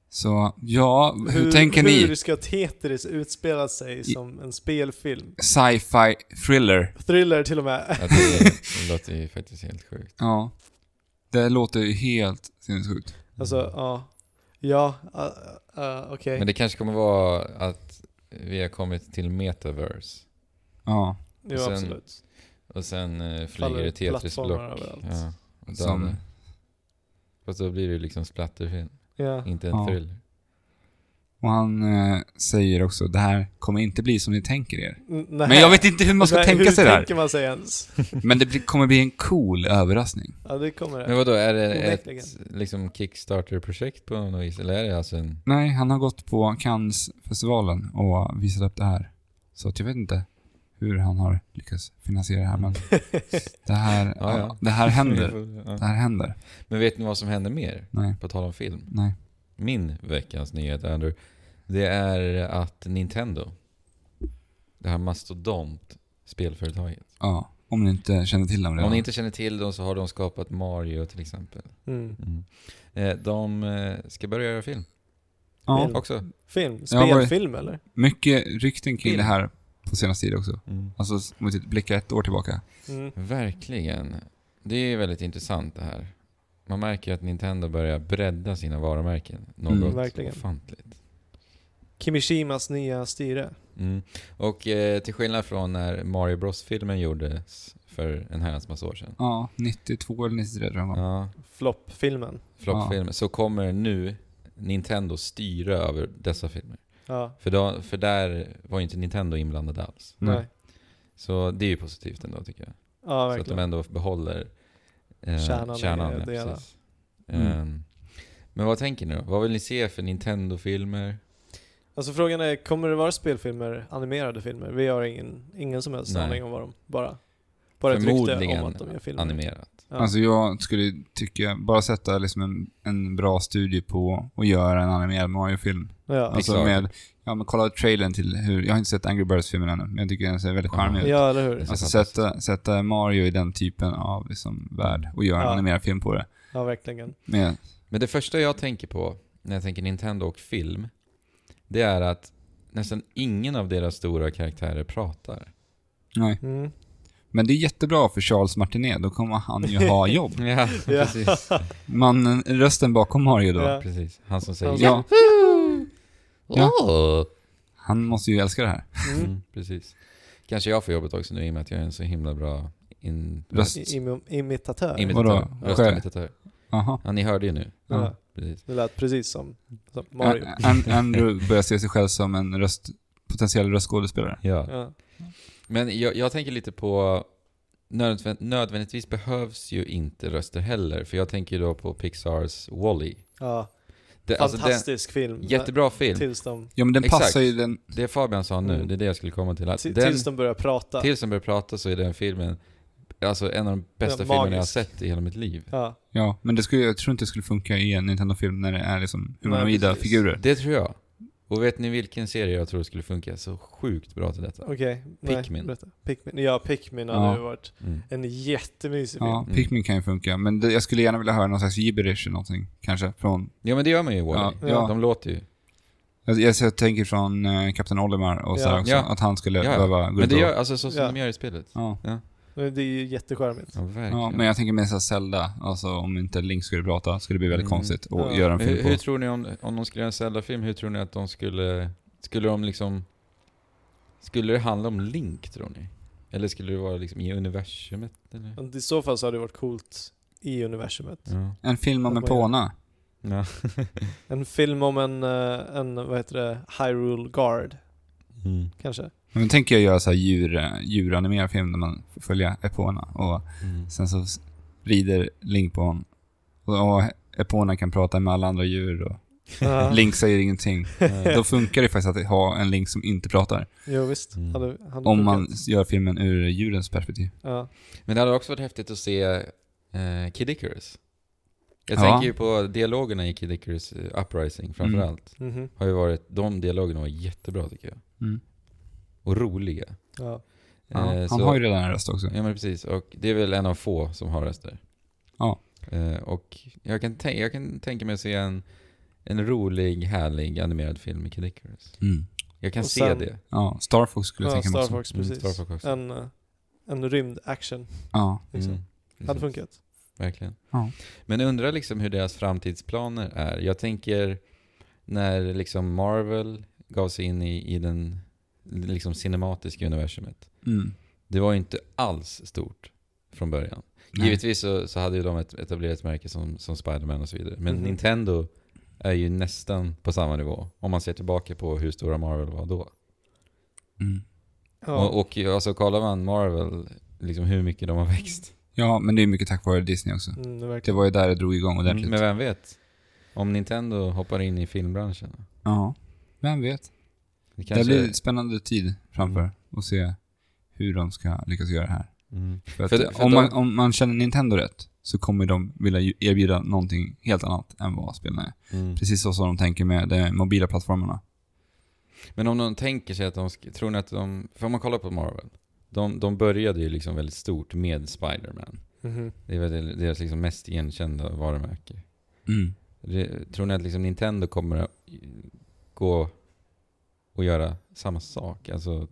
Så, ja, hur, tänker ni?
Hur ska Tetris utspela sig som en spelfilm?
Sci-fi thriller.
Thriller till och med.
Ja, det, det låter ju faktiskt helt sjukt.
Ja. Det här låter ju helt sinnessjukt.
Alltså, ja. Ja, uh, uh, okej.
Mm. Men det kanske kommer vara att vi har kommit till metaverse.
Ja.
Jo,
sen
absolut.
Och sen
Faller
eh, flyger det
plattformar
Tetris-block.
överallt.
Ja, och
Som-
dödar. Fast då blir det ju liksom splatterfilm,
Ja.
inte en
Ja.
thriller.
Och han eh, säger också, det här kommer inte bli som ni tänker er.
N- nej.
Men jag vet inte hur man ska
Nej,
tänka sig det
Hur
här.
tänker man sig ens?
Men det blir, kommer bli en cool överraskning.
Ja, det kommer
Men
det.
vadå, är det
Onekligen.
ett liksom Kickstarter-projekt på något vis? Eller är det alltså en...
Nej, han har gått på Cannes-festivalen och visat upp det här. Så att jag vet inte hur han har lyckats finansiera det här, men det här,
Ja, ja.
Det här händer.
Ja.
Det här händer.
Men vet ni vad som händer mer?
Nej,
På tal om film.
nej.
Min veckans nyhet, Andrew. Det är att Nintendo, det här mastodont spelföretaget.
Ja, om ni inte känner till dem redan.
Om ni inte känner till dem så har de skapat Mario till exempel.
Mm.
Eh, De eh, ska börja göra film
ja,
vill.
Mm.
också.
Film?
Jag har varit-
Spelfilm eller?
mycket rykten kring
Film.
det här på senaste tid också. Alltså, om vi tittar- blickar ett år tillbaka.
Mm.
Verkligen. Det är väldigt intressant det här. Man märker att Nintendo börjar bredda sina varumärken
Mm,
något
verkligen.
ofantligt.
Kimishimas nya styre.
Mm. Och eh, till skillnad från när Mario Bros-filmen gjordes för en herrans massa år sedan.
Ja, 92 eller 93 tror jag det var.
Ja,
Floppfilmen.
floppfilmen. Så kommer nu Nintendo styra över dessa filmer.
Ja.
För, då, för där var ju inte Nintendo inblandad alls.
Mm.
Nej.
Så det är ju positivt ändå tycker jag.
Ja,
Så att de
verkligen.
ändå behåller eh,
Kärnan
kärnan.
i
ja,
det hela.
precis.
Mm.
Ehm, men vad tänker ni då? Vad vill ni se för Nintendo-filmer?
Alltså frågan är, kommer det vara spelfilmer, animerade filmer? Vi har ingen, ingen som helst
Nej.
aning om vad de bara Bara ett rykte om att de gör
Förmodligen
filmer.
animerat.
Ja.
Alltså jag skulle tycka, bara sätta liksom en, en bra studie på och göra en animerad Mario-film.
Ja.
Alltså
Pixar.
med, ja men kolla trailern till hur, jag har inte sett Angry Birds-filmen ännu, men jag tycker den ser väldigt charmig ut.
ja, eller hur?
Alltså sätta, sätta Mario i den typen av liksom värld och göra en
Ja.
animerad film på det.
Ja, verkligen.
Med,
Men det första jag tänker på när jag tänker Nintendo och film, det är att nästan ingen av deras stora karaktärer pratar.
nej.
Mm.
Men det är jättebra för Charles Martinet, då kommer han ju ha jobb.
Ja,
Ja.
precis.
Mannen, rösten bakom Mario då.
Ja.
precis. Han som säger
Ja, Ja.
Åh.
han måste ju älska det här.
Mm.
Mm, precis. Kanske jag får jobbet också nu i och med att jag är en så himla bra in...
Röst.
I- Im- imitatör.
imitatör.
Vadå?
Röstimitatör.
Aha.
Ja, ni hörde ju nu.
ja.
Ja.
Precis.
Det lät precis som, som Mario.
Ä- An- Andrew börjar se sig själv som en röst, potentiell röstskådespelare.
Ja.
Ja.
Men jag, jag tänker lite på... Nödvänd, nödvändigtvis behövs ju inte röster heller, för jag tänker ju då på Pixars Wall-E.
Ja.
Det, alltså den-
Fantastisk film.
jättebra film.
Tills de,
Ja men den
Exakt.
passar ju den...
Det Fabian sa nu,
Mm.
det är det jag skulle komma till. Att
till-
den,
tills de börjar prata.
tills de börjar prata så är den filmen alltså en av de bästa
Ja,
filmerna jag har
magisk.
sett i hela mitt liv.
Ja.
Ja, men det skulle, jag tror inte det skulle funka i en Nintendo-film när det är liksom humanoida
Nej, precis.
figurer.
Det tror jag. Och vet ni vilken serie jag tror skulle funka så sjukt bra till detta?
Okej. nej,
Pikmin.
berätta. Pikmin. Ja, Pikmin hade
Ja.
ju varit
Mm.
en jättemysig film.
Ja,
Mm.
Pikmin kan ju funka, men det, jag skulle gärna vilja höra någon slags gibberish eller någonting, kanske, från...
Ja men det gör man ju
Ja,
i Wall-E.
ja.
De låter ju.
Jag, jag, jag tänker från eh, Kapten Olimar och så
Ja.
här också,
Ja.
att han skulle
Ja, ja.
behöva gå
Men
ut
det
och...
gör, alltså så som
Ja.
de gör i spelet.
Ja.
Men Det är ju jättecharmigt.
Ja,
ja,
verkligen.
men jag tänker mer såhär Zelda, alltså om inte Link skulle prata skulle det bli väldigt
Mm.
konstigt att
Ja.
göra en
hur,
film på.
hur tror ni om, om de skulle göra en Zelda-film, hur tror ni att de skulle... Skulle de liksom... Skulle det handla om Link tror ni? Eller skulle det vara liksom i universumet eller?
Men I så fall så hade det varit coolt i universumet.
Ja.
En film om en
Vad gör-
påna.
ja.
En film om en, eh, en, vad heter det, Hyrule Guard,
Mm.
kanske?
Men då tänker jag göra så här djur, eh, djuranimerad film där man får följa Epona och
Mm.
sen så s- rider Link på honom. Och, och Epona kan prata med alla andra djur och
Ja.
Link säger ingenting.
Ja.
Då funkar det faktiskt att ha en Link som inte pratar.
Jo, visst.
Mm.
Hade, hade
Om
funkat.
man gör filmen ur djurens perspektiv.
Ja.
Men det hade också varit häftigt att se eh, Kid Icarus. Jag
Ja.
tänker ju på dialogerna i Kid Icarus eh, Uprising
Mm.
framförallt.
Mhm.
Har ju varit, de dialogerna var jättebra tycker jag.
Mm.
Och roliga.
Ja.
Ja,
Eh,
han
så-
har ju redan en röst också.
Ja men precis, och det är väl en av få som har röster.
Ja.
Eh, och jag kan, tän- jag kan tänka mig att se en, en rolig, härlig animerad film med Kid Icarus.
Mm.
Jag kan
Och
se
sen-
det.
Ja, Star Fox skulle jag
ja
tänka mig
Star
också.
Fox, precis.
Star Fox också.
En, eh, en rymdaction,
Ja.
liksom.
Mm.
Hade
Precis.
funkat.
Verkligen.
Ja.
Men undrar liksom hur deras framtidsplaner är. Jag tänker när liksom Marvel gav sig in i, i den liksom cinematiska universumet.
Mm.
Det var ju inte alls stort från början.
Nej.
Givetvis så, så hade ju de ett etablerat märke som, som Spider-Man och så vidare. Men
Mhm.
Nintendo är ju nästan på samma nivå om man ser tillbaka på hur stora Marvel var då.
Mm.
Ja.
Och, och alltså kollar man Marvel, liksom hur mycket de har växt.
Ja, men det är mycket tack vare Disney också.
Mm,
Det
verkligen.
var ju där det drog igång ordentligt.
Men vem vet? Om Nintendo hoppar in i filmbranschen.
Ja, vem vet.
Det kanske...
Det blir en spännande tid framför och se hur de ska lyckas göra det här.
Mm.
För att,
För det- för
om,
de-
man, om man känner Nintendo rätt så kommer de vilja ju- erbjuda någonting helt annat än vad spelen är.
mm.
Precis så som de tänker med de mobila plattformarna.
Men om de tänker sig att de, sk- tror ni att de, för om man kollar på Marvel, de, de började ju liksom väldigt stort med Spider-Man.
Mhm.
Det var väl deras liksom mest igenkända varumärke.
Mm.
Det, tror ni att liksom Nintendo kommer att gå och göra samma sak? Alltså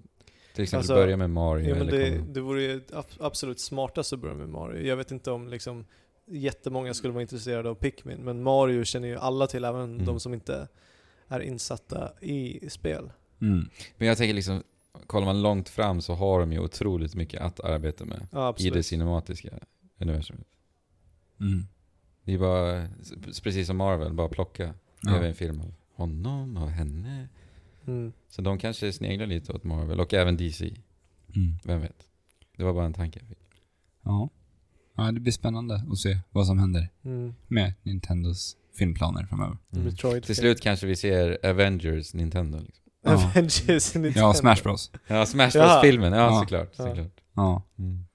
till exempel
Alltså,
börja med Mario
Ja, men
eller
det,
kommer-
det vore ju ab- absolut smartast att börja med Mario. Jag vet inte om liksom jättemånga skulle vara intresserade av Pikmin, men Mario känner ju alla till, även
Mm.
de som inte är insatta i spel.
Mm.
Men jag tänker liksom, kollar man långt fram så har de ju otroligt mycket att arbeta med
Ja,
i det
absolut.
cinematiska universumet.
Mm.
Det är bara, s- precis som Marvel, bara plocka.
Ja.
Gör vi en film av honom, av henne.
Mm.
Så de kanske sneglar lite åt Marvel och även DC.
Mm.
Vem vet? Det var bara en tanke jag fick.
Ja. ja, det blir spännande att se vad som händer
Mm.
med Nintendos filmplaner framöver.
Mm.
Metroid.
Till slut kanske vi ser Avengers Nintendo. Liksom.
Ja.
Avengers.
Ja, Smash Bros.
Ja, Smash
Ja.
Bros-filmen. Ja,
Ja.
såklart.
Ja.
såklart.
Ja.
Mm.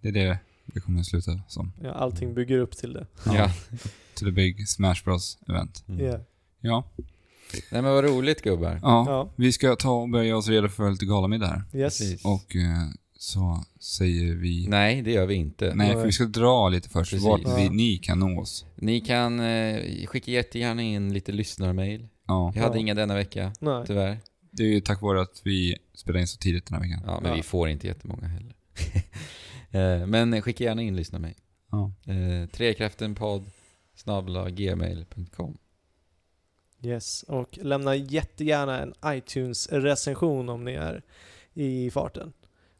Det är det det kommer att sluta som.
Ja, allting bygger upp till det.
Ja. To the big Smash Bros event.
Mm.
Yeah.
Ja.
Nej men vad roligt gubbar.
ja.
Ja,
Vi ska ta och börja oss redo för lite galamiddag här.
yes.
Precis.
Och eh, så säger vi... Nej,
Nej, det gör vi inte.
för vi ska dra lite först.
Precis.
Vart vi,
Ja.
ni kan nå oss.
Ni kan eh, skicka jättegärna in lite lyssnarmail.
Ja.
Jag hade
Ja.
inga denna vecka,
Nej.
tyvärr.
Det är ju tack vare att vi spelar in så tidigt den här veckan.
Ja, men
Ja.
vi får inte jättemånga heller. Eh, men skicka gärna in lyssnarmail.
Ja.
Eh, Trekraftenpodd snabla gmail.com.
Yes, och lämna jättegärna en iTunes-recension om ni är i farten.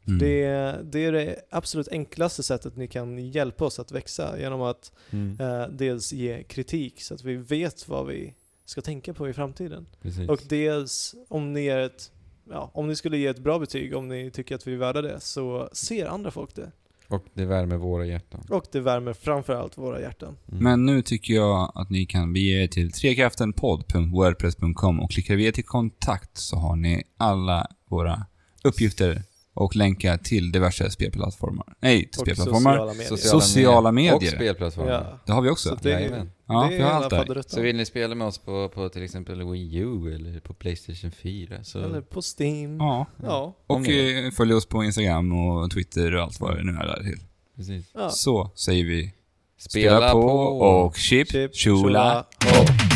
Mm.
Det, det är det absolut enklaste sättet ni kan hjälpa oss att växa genom att
Mm.
eh, dels ge kritik så att vi vet vad vi ska tänka på i framtiden.
Precis.
Och dels om ni, är ett, ja, om ni skulle ge ett bra betyg, om ni tycker att vi är värda det, så ser andra folk det.
Och det värmer våra hjärtan.
Och det värmer framförallt våra hjärtan.
Men nu tycker jag att ni kan bege er till trekraftenpodd.wordpress.com och klickar vi er till kontakt så har ni alla våra uppgifter och länkar till diverse spelplattformar. Nej, till
Och
spelplattformar.
sociala medier.
Sociala medier.
Och spelplattformar.
Ja.
Det har vi också.
Så det,
Jajamän.
Ja,
det
vi
är
har
hela
allt där.
Så
faderuttan.
vill ni spela med oss på, på till exempel Wii U eller på Playstation 4 så...
Eller på Steam.
Ja.
Ja. Ja.
Om
Och
ni vill.
eh, följ oss på Instagram och Twitter och allt vad det nu är där till.
Precis.
Så säger vi
Spela, på
och chip,
Chip,
chula
chula
och